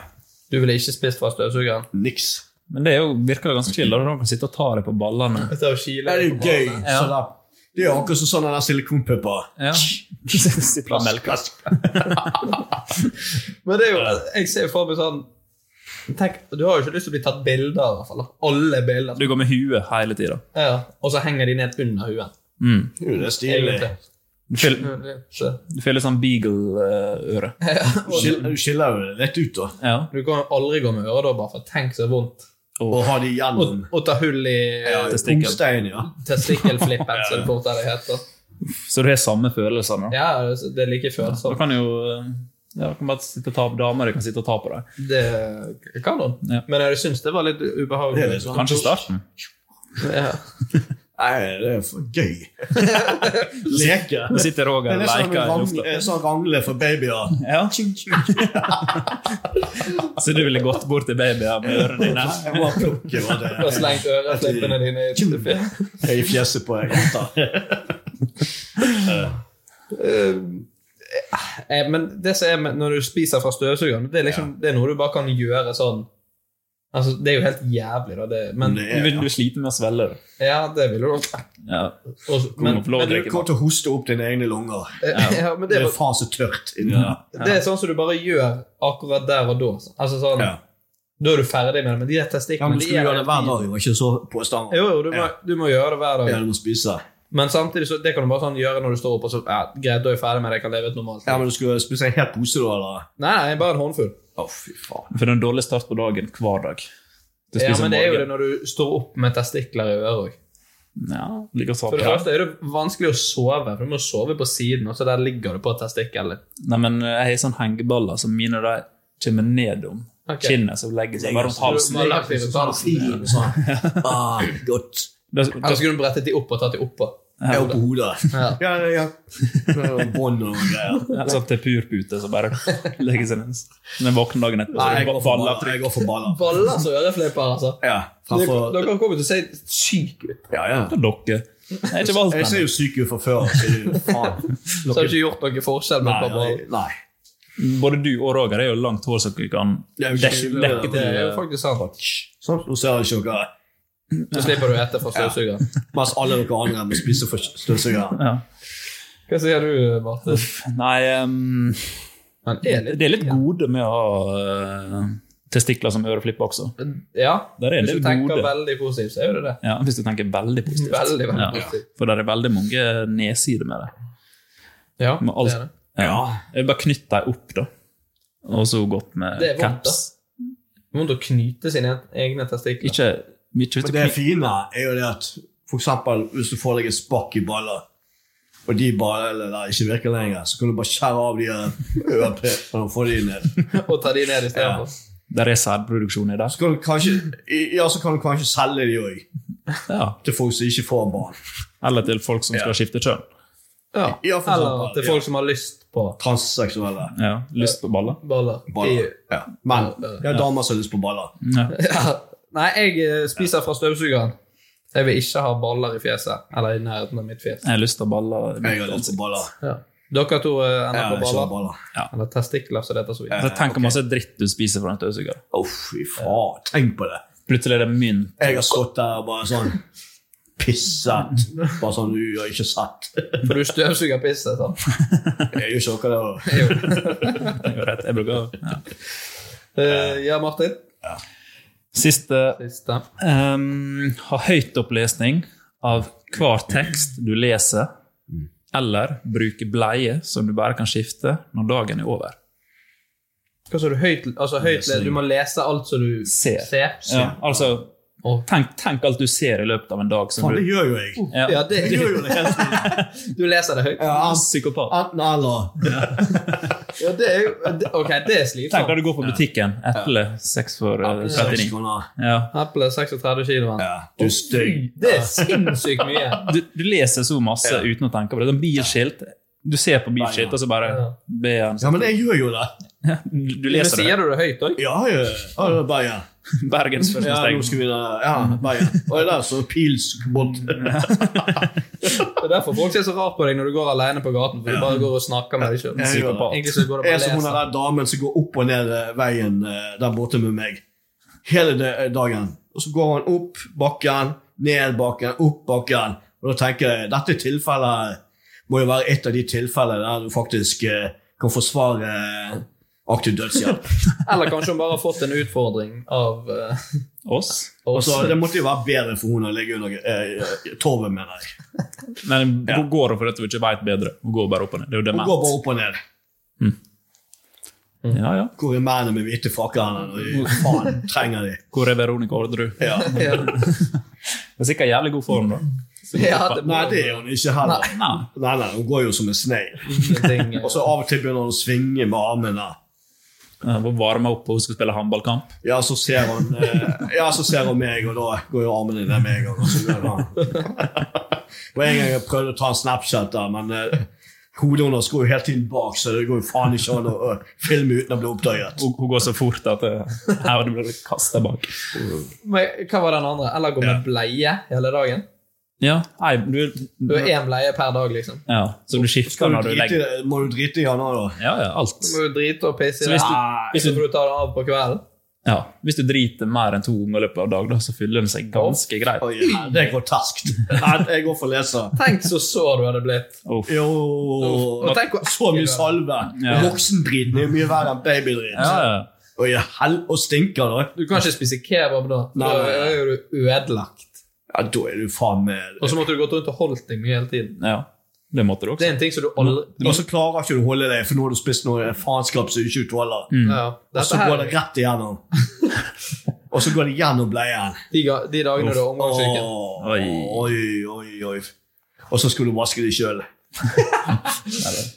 Du ville ikke spist fra støvsugeren. Niks. Men det er jo, virker jo ganske chill. da. De kan sitte og ta det på *laughs* ballene. Det er jo kile Det er jo på gøy. barna. Ja. Så da, det er jo akkurat som sånn den der silikonpuppa. Ja. Sitter og melker. Men det er jo, jeg ser for meg sånn Tenk, Du har jo ikke lyst til å bli tatt bilder av, i hvert fall. da. Alle bilder. Du går med huet hele tida. Ja, og så henger de ned under huet. Mm. Det er jo det stilig. Egentlig. Du føler- Så, du føler sånn beagle-øre. Du skil- Du skiller jo det rett ut, da. Ja. du kan jo aldri gå med øredobber, for tenk så vondt. Og ha de Og, Mm. gjennom. og ta hull i eh, Ja, i Testikkel. ungstein, ja. testikkelflippen, *laughs* som det fortere heter. Så du har samme følelser nå? Ja, altså, det det er like følsomt. Da kan jo eh, ja, kan bare sitte og ta på damer, de kan sitte og ta på deg. Det kan hun. Men jeg syns det var litt ubehagelig. Det er litt sånn- Kanskje starten. Ja. Nei, det er for *laughs* gøy. Leke. Nå sitter Roger Det er og sånn leker i rang- lufta. eh, Sånn rangle for babyer. Ja. Så du ville gått bort til babyer med *laughs* *laughs* ørene dine? Jeg må plukke var det. Og slengt øreflippene dine i fjeset. Jeg er i fjeset på jenta. Eh, Men det som er med når du spiser fra støvsugeren, det er, liksom, det er noe du bare kan gjøre sånn Altså, Det er jo helt jævlig, da. Det, men Det er- Du sliter med å svelge det. Ja, det vil du nok. Ja. Og- men- Men, men du men- kommer til å hoste opp dine egne lunger. Ja. *laughs* Ja, men det det er var- faen så tørt inni der. Det er sånn som du bare gjør akkurat der og da. Altså sånn, Da er du ferdig med det, men de der Ja, men testiklene du skulle gjøre det hver dag, jo. Ikke så påstander. Jo, jo, du må, du må gjøre det hver dag. Ja, du må spise. Men samtidig så, det kan du bare sånn gjøre når du står opp og så ja, Greit, da er jeg ferdig med det, jeg kan leve et normalt liv. Ja, men du skulle spise en hel pose, da? eller? Nei, nei, bare en håndfull. Å, fy For faen. det er en dårlig start på dagen hver dag. Du Ja, spiser men det er jo det morgen. når du står opp med testikler i øret òg. Ja, ligger og For sover. det første er det vanskelig å sove, for du må sove på siden, og så der ligger du på testikkelen din. Nei, men jeg har sånn hengeballer som mine de kommer ned om Ok. kinnet, så legger seg bare rundt halsen. Du må legge deg rundt halsen. Sånn. Ah, *clears throat* godt. Da, Eller skulle du brettet de opp og tatt de oppå? Jeg er oppe på hodet. Ja. *laughs* Ja, ja. Og Bånd og greier. Sånn til purpute, så bare *laughs* legger seg ned. Men våkner dagen etterpå, Nei, så jeg er går det for baller. baller. Jeg går for baller. Baller som øreflipper, altså. Ja, Dere framfor dere kommer til å se syke ut. Ja, ja. Dere. Jeg er ikke valgt Jeg ser ennå. jo syk ut fra før. Så det er jo faen. Så har du ikke gjort noen forskjell med Nei, pappa. nei, Både du og Roger er jo langt hår som dere kan dekke dekke Det er jo til. faktisk sant. Sånn, nå ser jeg ikke dere. Så slipper du å ete fra støvsugeren. Mens alle dere andre må spise for støvsugeren. Ja. Hva sier du, Marte? Nei ehm, er litt- Det er litt gode med å ha eh, testikler som øreflipper også. Ja, Der er en hvis du del tenker gode. veldig positivt, så er jo det det. Ja, hvis du tenker veldig positivt. Veldig, veldig Ja, positivt. For det er veldig mange nedsider med det. Ja, med alt. det er det. Ja. Jeg vil bare knytte dem opp, da. Og så godt med Det er vondt, caps. Vondt å knyte sine egne testikler. Ikke mye Men det fine er jo det at for eksempel hvis du får deg en spakk i baller, og de ballene der ikke virker lenger, så kan du bare skjære av de her ørepepene og få de ned. Og ta de ned istedenfor. Der er sædproduksjon i det. Så kan du kanskje, ja, så kan du kanskje selge de òg, Ja. til folk som ikke får barn. Eller til folk som skal skifte kjønn. Ja. Ja, for Eller eksempel, til ja. folk som har lyst på Transseksuelle. Ja. Lyst på baller. baller. Baller. I- Ja. Mm. Men det er damer som har lyst på baller. Ja. Ja. Nei, jeg eh, spiser fra støvsugeren. Jeg vil ikke ha baller i fjeset. Eller i nærheten av mitt fjes. Jeg har lyst på baller. i mitt Jeg har lyst på ansikt. baller. Ja. Dere to eh, Jeg ender har på ikke baller. baller. Eller testikler, som det heter så vidt. Så Tenk om masse dritt du spiser fra en støvsuger. Å, fy faen. Tenk på det. Plutselig er det mynt. Jeg har stått der og bare sånn pisset. Bare sånn Du har ikke sett. For du støvsuger pisset, sant? Jeg gjør ikke noe av det. Det er jo rett. Jeg bruker ja. Eh, ja, Martin? Siste Siste. Ehm, ha høytopplesning av hver tekst du leser, Mm. eller bruke bleie som du bare kan skifte når dagen er over. Hva sa du? Høyt, altså, høyt, du må lese alt som du Ser. ser. Ja, altså, tenk, tenk alt du ser i løpet av en dag. Som Faen, det du, gjør jo jeg. ja, Ja, det, Jeg gjør jo det hele tiden. *laughs* du leser det høyt? Ja, psykopat. Enten eller. Ja, det er jo det- Ok, det er Tenk slitsomt. når du går på butikken. Eple 6 for eh, 39. 39. Ja. Eple 36 kilo. Ja, du er stygg. Det er sinnssykt mye. Du, du leser så masse uten å tenke på det. Sånn bilskilt. Du ser på bilskilt, og så bare Ja. be han Ja, men jeg gjør jo det. Du du Men leser sier det. du det høyt òg? Ja, ja. ja det er Bergen. Bergens første Ja, nå steg. skal vi da Ja, Bergen. Og det der så *laughs* pilsbåt. Det er derfor folk ser så rart på deg når du går alene på gaten. For du bare går og snakker med deg sjøl. Jeg gjør det. Egentlig så går det bare Jeg er som hun å lese. der damen som går opp og ned eh, veien eh, der borte med meg. Hele de- dagen. Og så går han opp bakken, ned bakken, opp bakken. Og da tenker jeg dette tilfellet eh, må jo være et av de tilfellene der du faktisk eh, kan forsvare eh, aktiv dødshjelp. Eller kanskje hun bare har fått en utfordring av eh, Oss. Og oss. så *laughs* Det måtte jo være bedre for hun å ligge under eh, torvet, mener jeg. Men hun går hun for at hun ikke veit bedre? Hun går bare opp og ned. Det er jo Hun går dement. bare opp og ned. Ja, ja. Hvor er mennene med hvite frakker hen? når de- Faen, trenger de? Hvor er Veronica Orderud? Ja. Det er sikkert jævlig god form, da. Ja, det- nei, det er hun ikke heller. Nei. Nei, nei, Hun går jo som en snegl. Og så av og til begynner hun å svinge med armene. Hun må varme opp og hun skal spille håndballkamp. Ja, så ser hun, eh, ja, så ser hun meg, og da går jo armene ned meg. Og så gjør han. *laughs* Og en gang jeg prøvde å ta en Snapchat, der, men eh, hodet hennes går jo hele tiden bak, så det går jo faen ikke an å å filme uten å bli oppdaget. Hun, går så fort at eh, her blir det kasta bak. Men hva var den andre? Eller gå med bleie hele dagen? Ja, nei, du, Du har én bleie per dag, liksom. ja, Så du skifter Skal når du du drite i legger det? Må du drite i han òg, da? Ja, ja, alt. Du må jo drite og pisse Så i det. hvis du- Nei, hvis Så får du ta det av på kvelden. Ja, Hvis du driter mer enn to ganger i løpet av dag, da, så fyller den seg ganske greit. Oi, nei, det er groteskt. Nei, jeg går for leser. Tenk så sår du hadde blitt. Uff. Jo Og tenk hvor Så mye salve. Ja. Voksendriten er jo mye verre enn babydrit. Ja, ja. Og i hel og stinker, da. Du kan ikke spise kebab da. Da Nei, nei, nei. er du ødelagt. Ja, da er du faen med Og så måtte du gått rundt og holdt deg mye hele tiden. ja. Det måtte du Det også. er en ting som du aldri Og så klarer ikke du å holde deg, for nå har du spist noe faenskap som du ikke tåler. ja, Mm. Og Dette så går her, det rett igjennom. *laughs* Og så går det gjennom bleien. de, ga- de dagene du er omgangssyken. Åh, Oi. Oi, oi, oi. Og så skulle du vaske deg sjøl.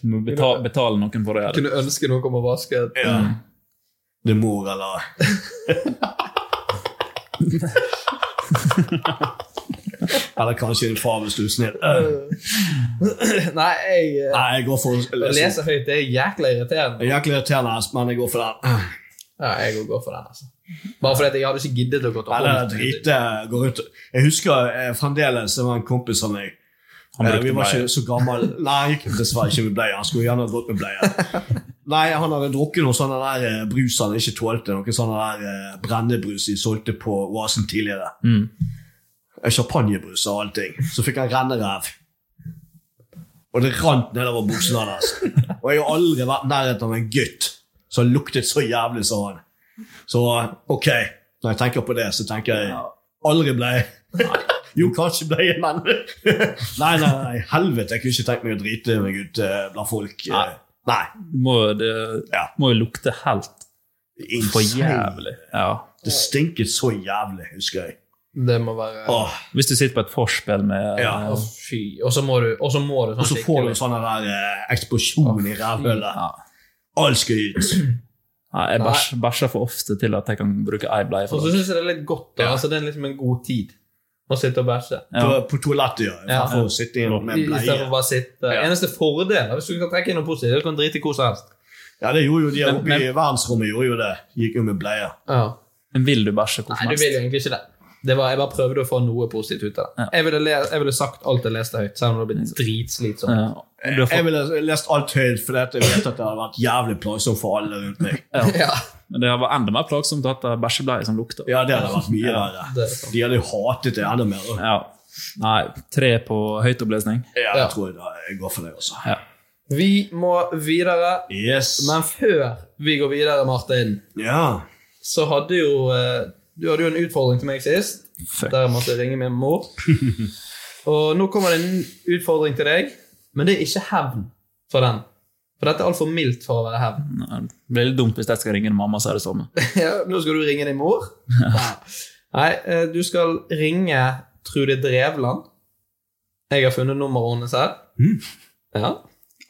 Du må betale, betale noen for å gjøre det. Kunne ønske noe om å vaske Ja. Det er mor, eller *laughs* Eller kanskje en far, hvis du er snill. Øh, *clears throat* Nei, jeg eh, Nei, jeg går for å å lese. lese høyt det er jækla irriterende. Jeg er Jæklig irriterende, men jeg går for den. Ja, jeg går for den, altså. Bare fordi at jeg hadde ikke giddet å gå til Eller drite. Gå rundt. Jeg husker eh, fremdeles det var en kompis av meg Han Eh, brukte Vi var bleie. ikke så gammel Nei, han gikk dessverre ikke med bleie. Han skulle gjerne ha gått med bleie. *laughs* Nei, han hadde drukket noe sånn der eh, brus han ikke tålte. Noe sånn der eh, brennebrus de solgte på Oasen tidligere. Mm. Eh, Champagnebrus og allting. Så fikk han renneræv. Og det rant nedover buksene hans. *laughs* Og jeg har aldri vært i nærheten av en gutt som luktet så jævlig som han. Så ok, når jeg tenker på det, så tenker jeg aldri bleie. Jo, kanskje ble jeg men *laughs* Nei, nei, nei, helvete. Jeg kunne ikke tenkt meg å drite meg ut eh, blant folk. eh. Nei. Du må, det Ja. må jo lukte helt for jævlig. Ja. Det stinket så jævlig, husker jeg. Det må være Åh, Hvis du sitter på et forspill med Ja. Å, Fy. Og så må du, og så må du og sånn så får du en sånn der eh, eksplosjon i Ja. rævhullet. Alt skal ut. Nei, jeg Nei. bæsj- bæsjer for ofte til at jeg kan bruke ei bleie. Og for så det. syns jeg det er litt godt. da, altså Det er liksom en god tid å sitte og bæsje. På, Ja. på toalettet, ja. Ja. For å sitte inn med en Istedenfor bleie. bare å sitte. Ja. Eneste fordel er hvis du kan trekke inn noe positivt. Du kan drite i hvor som helst. Ja, det gjorde jo de Men- oppe men- i verdensrommet. gjorde jo det. Gikk jo med bleie. Men vil du bæsje hvor Nei, som du vil jo helst? egentlig ikke det. det var, jeg bare prøvde å få noe positivt ut av det. Jeg, ville le, jeg ville sagt alt jeg leste høyt, selv om det hadde Mm. blitt dritslitsomt. Ja. Du har Jeg fått, ville lest alt høyt, for jeg vet at det hadde vært jævlig plagsomt for alle rundt meg. *laughs* Ja. men det var enda mer plagsomt at det er bæsjebleie som lukter. Ja, det hadde vært mye det verre. er sant. De hadde jo hatet det enda mer. Ja. Nei, tre på høytopplesning. Ja, jeg Ja. tror jeg, jeg går for det også. Ja. Vi må videre, Yes. men før vi går videre, Martin, ja. så hadde jo eh, Du hadde jo en utfordring til meg sist, Fuck. der jeg måtte ringe min mor. Og nå kommer det en utfordring til deg, men det er ikke hevn for den. For dette er altfor mildt for å være hevn. Nei, Det blir litt dumt hvis jeg skal ringe en mamma, så er det samme. *laughs* Ja, nå skal du ringe din mor? Nei, eh, du skal ringe Trude Drevland. Jeg har funnet nummeret hennes her. Ja,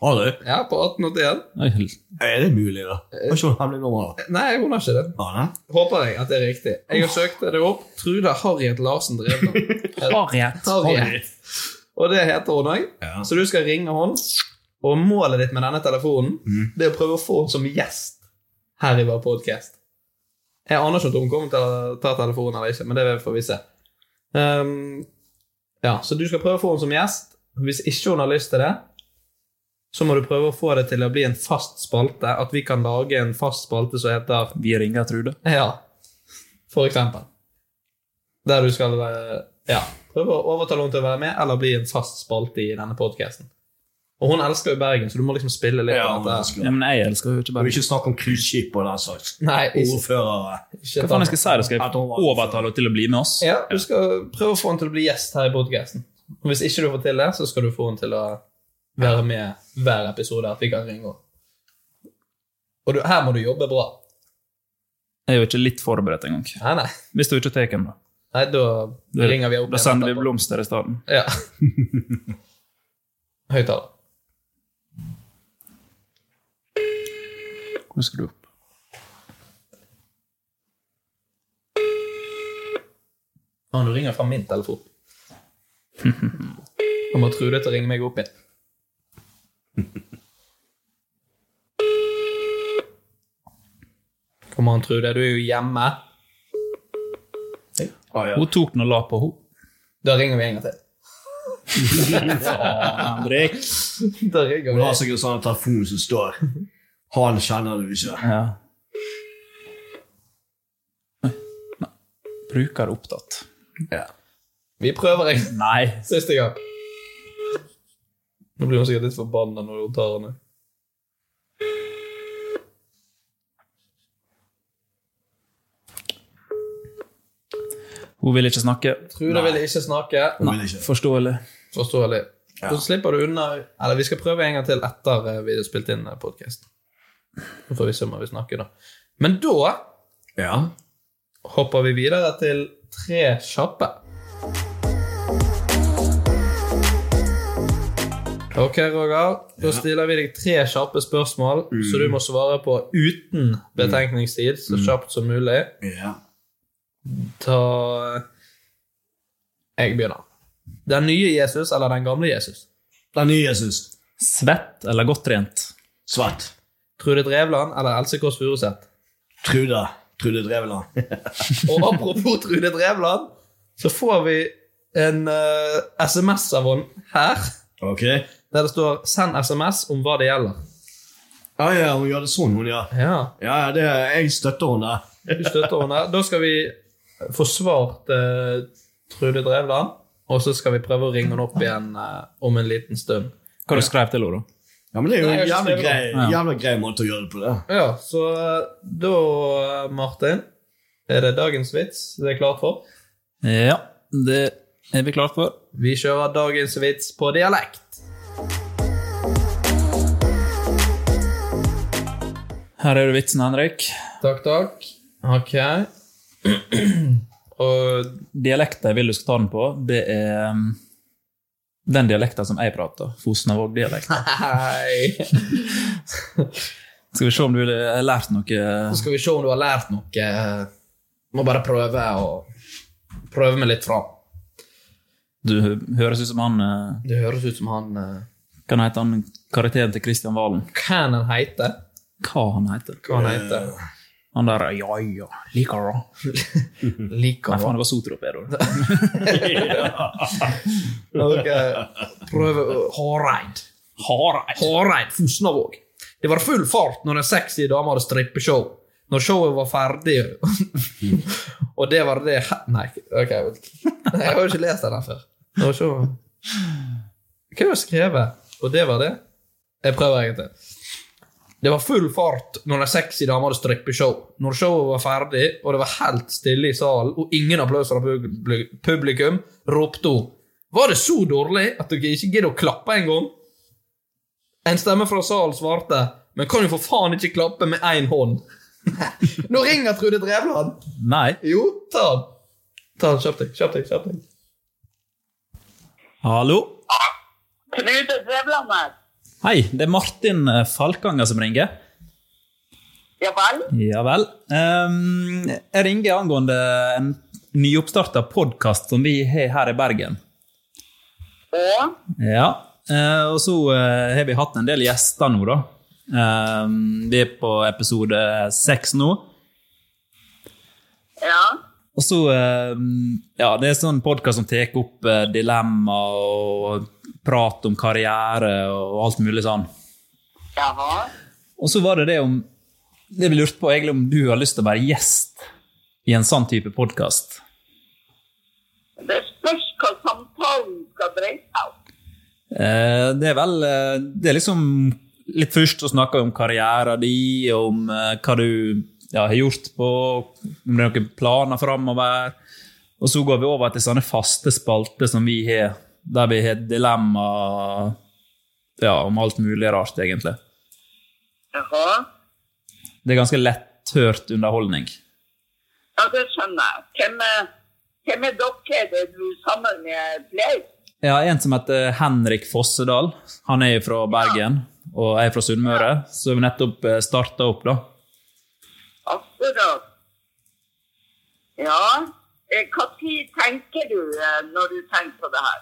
Har du? ja, på 1881. Oi, Er det mulig, da? Har ikke hun hemmelig nummer, da? Nei, hun har ikke det. Har hun det? Håper jeg at det er riktig. Jeg har søkt det opp. Trude Harriet Larsen Drevland. Harriet. Harriet. Og det heter hun òg. Ja. Så du skal ringe henne. Og målet ditt med denne telefonen Det er å prøve å få henne som gjest her i vår podkast. Jeg aner ikke om hun kommer til å ta telefonen eller ikke, men det får vi se. Ehm, ja, Så du skal prøve å få henne som gjest. Hvis ikke hun har lyst til det, så må du prøve å få det til å bli en fast spalte. At vi kan lage en fast spalte som heter Vi ringer Trude. ja. For eksempel. Der du skal eh, ja, prøve å overtale henne til å være med, eller bli en fast spalte i denne podkasten. Og hun elsker jo Bergen, så du må liksom spille litt Ja, av hun dette. elsker Ja, det. men jeg elsker jo ikke Og bare ikke snakk om cruiseskip og den slags. Nei, ikke, Ordførere. ikke Hva faen jeg skal si? da? Skal At hun var- jeg overtale henne til å bli med oss? Ja, du skal prøve å få henne til å bli gjest her i podkasten. Og hvis ikke du får til det, så skal du få henne til å være med hver episode. At vi kan ringe henne. Og du, her må du jobbe bra. Jeg er jo ikke litt forberedt engang. Nei, nei. Hvis du ikke tar den, da. Nei, da Da- ringer vi opp Da sender vi blomster i stedet. *laughs* Ja. Høyttaler. Hvor skal du opp? Han ringer fra min *laughs* telefon. Kommer Trude til å ringe meg opp igjen. Kom an, Trude. Du er jo hjemme. Hun tok den og la på henne. Da ringer vi en gang til. Henrik. *laughs* Da ringer Hun har vi. sikkert sånn telefon som står Han kjenner du ikke. Bruker opptatt. Vi prøver en Nei. siste gang. Nå blir hun sikkert litt forbanna når hun tar den. Hun vil ikke snakke. Trude vil ikke snakke. Nei, Forståelig. Forståelig. Så slipper du unna Eller vi skal prøve en gang til etter eh, vi har spilt inn podkasten. Så får vi se om vi snakker, da. Men da hopper vi videre til tre kjappe. Ok, Roger. Da stiller vi deg tre kjappe spørsmål Mm. så du må svare på uten betenkningstid, så kjapt som mulig. Ja. Ta eh, Jeg begynner. Den nye Jesus eller den gamle Jesus? Den nye Jesus. Svett eller godt trent? Svett. Trude Drevland eller Else Kåss Furuseth? Trude. Trude Drevland. Og apropos *laughs* Trude Drevland, så får vi en eh, SMS av henne her. Ok. Der det står 'send SMS om hva det gjelder'. Ja, ja, hun gjør det sånn, hun, ja. Ja, ja det, jeg støtter henne. Du støtter henne. Da skal vi få svart eh, Trude Drevland, og så skal vi prøve å ringe henne opp igjen eh, om en liten stund. Hva du skrev til henne, da? Ja, men det er jo Nei, en jeg jævla skjønner grei, det. Ja. jævla grei måte å gjøre det på. det. Ja, så eh, da, Martin, er det dagens vits det er klart for. Ja, det er vi klare for. Vi kjører dagens vits på dialekt. Her er du vitsen, Henrik. Takk, takk. Ok. *clears throat* Og dialekten jeg vil du skal ta den på, det er um, den dialekten som jeg prater. Fosnavåg-dialekt. Hei! Skal vi se om du har lært noe uh, Så skal vi se om du har lært noe. Må bare prøve å prøve meg litt fram. Du høres ut som han eh, Det høres ut som han eh, Kan hete han karakteren til Kristian Valen? Hva han heter? Hva han heter? Hva han heter? Han der Ja, ja, liker det. Eh, Liker Nei, faen, han det var Sotrop, er det. Ok. Prøve å- Hareid. Hareid. Hareid Fosnavåg. Det var full fart når en sexy dame hadde strippeshow. Når showet var ferdig *laughs* Og det var det he- Nei, ok. vent. Nei, jeg har jo ikke lest den her før. Når showet Hva har jeg skrevet? Og det var det? Jeg prøver en gang til. Det var full fart når en sexy dame hadde strippeshow. Når showet var ferdig, og det var helt stille i salen, og ingen applaus fra publi- publikum, ropte hun Var det så dårlig at dere ikke gidder å klappe engang? En stemme fra salen svarte Men kan jo for faen ikke klappe med én hånd. *laughs* Nå ringer Trude Drevland! Nei. Jo, ta den. Ta den, Kjapp deg, kjapp deg. kjapp deg. Hallo? Trude Drevland her. Hei, det er Martin eh, Falkanger som ringer. Ja vel? Ja vel. Ehm, jeg ringer angående en nyoppstarta podkast som vi har her i Bergen. Og? Ja. eh, og så eh, har vi hatt en del gjester nå, da. Ehm, vi er på episode seks nå. Ja. Og så eh, Ja, det er sånn podkast som tar opp eh, dilemma og prat om karriere og alt mulig sånn. Jaha. Og så var det det om Det vi lurte på, egentlig om du har lyst til å være gjest i en sånn type podkast. Det spørs hva samtalen skal dreie seg om. Eh, det er vel eh, Det er liksom Litt først så snakker vi om karrieren din, og om eh, hva du ja, har gjort på, om det er noen planer framover. Og så går vi over til sånne faste spalter som vi har, der vi har dilemma ja, om alt mulig rart, egentlig. Jaha. Det er ganske letthørt underholdning. Ja, det skjønner jeg. Hvem, eh, hvem er dere er du sammen med flere? Jeg har en som heter Henrik Fossedal. Han er fra Bergen, og jeg er fra Sunnmøre. Så vi nettopp starta opp, da. Akkurat. Ja. eh, Hva tid tenker du eh, når du tenker på det her?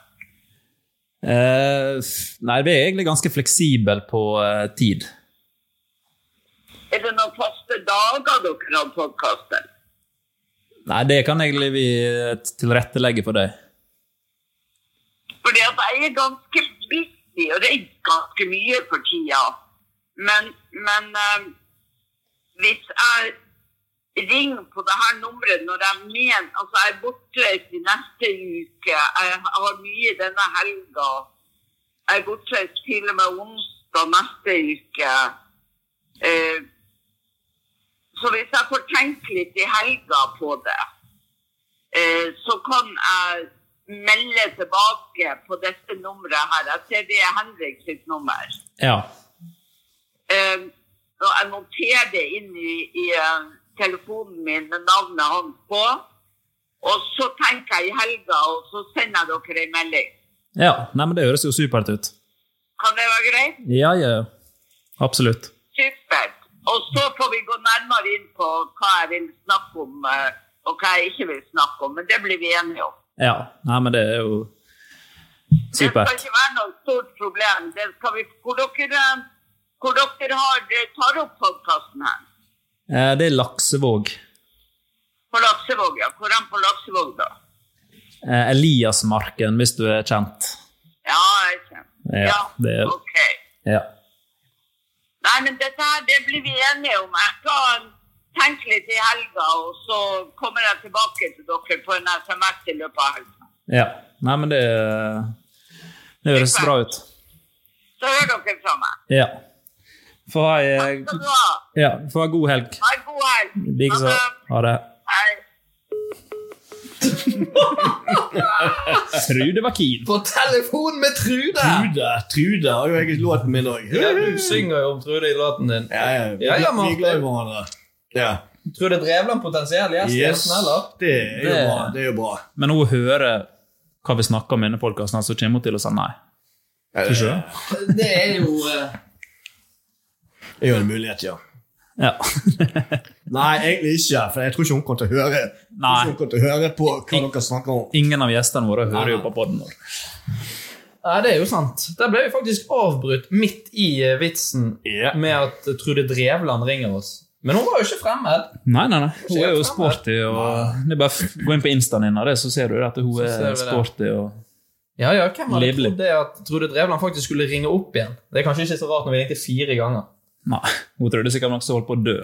Eh, f- nei, vi er egentlig ganske fleksible på eh, tid. Er det noen faste dager dere har podkaster? Nei, det kan egentlig vi eh, tilrettelegge for deg. Fordi at jeg er ganske busy, og det er ganske mye for tida. Men, men eh, hvis jeg ringer på det her nummeret når jeg mener Altså, jeg er bortreist i neste uke, jeg har mye denne helga. Jeg er bortreist til og med onsdag neste uke. Eh, så hvis jeg får tenke litt i helga på det, eh, så kan jeg melde tilbake på dette nummeret her. Jeg ser det er Henrik sitt nummer. Ja. Eh, og jeg noterer det inn i, i eh, telefonen min med navnet hans på. Og så tenker jeg i helga, og så sender jeg dere en melding. ja. Nei, men det høres jo supert ut. Kan det være greit? Ja, ja. Absolutt. Supert. Og så får vi gå nærmere inn på hva jeg vil snakke om, eh, og hva jeg ikke vil snakke om. Men det blir vi enige om. Ja. Nei, men det er jo Det skal supert. ikke være noe stort problem. Det skal vi, hvor dere, hvor dere har, tar opp podkasten her? Eh, det er Laksevåg. På Laksevåg, ja. Hvor er han på Laksevåg, da? Eh, Eliasmarken, hvis du er kjent. Ja, jeg kjenner. Ja, det er- ok. Ja. Nei, men dette her, det blir vi enige om. Jeg skal tenke litt i helga, og så kommer jeg tilbake til dere på en SMS i løpet av helga. ja. Nei, men det, det høres bra ut. Så hører dere fra meg. Ja. Få ha ei Takk skal du ha. ja, få ha god helg. Ha en god helg. Likeså. Ha det. Hei. Trude var keen. På telefon med Trude! Trude Trude har jo egentlig låten min òg. Ja, du synger jo om Trude i låten din. Ja, ja. Vi, Ja, ja, vi er Martin. glad i hverandre. Ja. Trude Drevland, potensiell gjest i Yes. Aften, eller? Det er jo bra. Det er jo bra. Men hun hører hva vi snakker om i denne podkasten, så kommer hun til å si nei. Tror ikke du? Det er jo eh, Det er jo en mulighet, ja. Ja. *laughs* Nei, egentlig ikke. For jeg tror ikke hun kommer til å høre, jeg tror ikke hun kommer til å høre på hva dere snakker om. Ingen av gjestene våre hører jo på podden vår. Nei, det er jo sant. Der ble vi faktisk avbrutt midt i eh, vitsen med at Trude Drevland ringer oss. Men hun var jo ikke fremmed. Nei, nei, nei. Hun er jo sporty. og det er bare f- Gå inn på instaen hennes, det, så ser du at hun Så ser vi er det. sporty. og... Ja, ja, hvem hadde Livlig. trodd det at Trude Drevland faktisk skulle ringe opp igjen? Det er kanskje ikke så rart når vi ringte fire ganger. Nei, hun trodde sikkert noen som holdt på *laughs* å dø.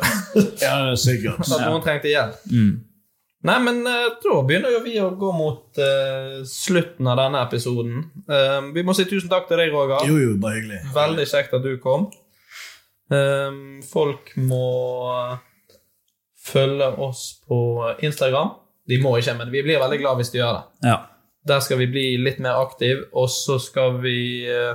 ja, sikkert. At noen trengte hjelp. Mm. Nei, men eh, da begynner jo vi å gå mot eh, slutten av denne episoden. Eh, vi må si tusen takk til deg, Roger. Jo, jo, bare hyggelig. Veldig kjekt at du kom. Ehm, folk må følge oss på Instagram. De må ikke, men vi blir veldig glad hvis de gjør det. Ja. Der skal vi bli litt mer aktiv, og så skal vi eh,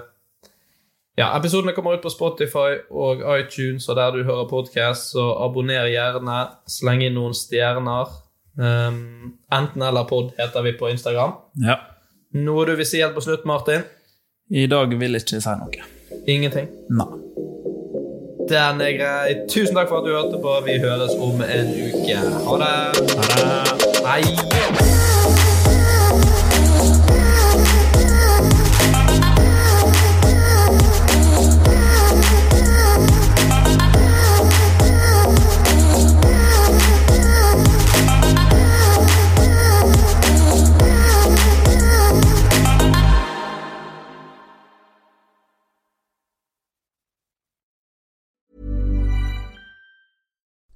Ja, episodene kommer ut på Spotify og iTunes og der du hører podkast, så abonner gjerne. Sleng inn noen stjerner. Ehm, enten eller pod heter vi på Instagram. Ja. Noe du vil si helt på slutt, Martin? I dag vil jeg ikke si noe. Ingenting? Nei. Den er grei. Tusen takk for at du hørte på. Vi høres om en uke. Ha det. Hei.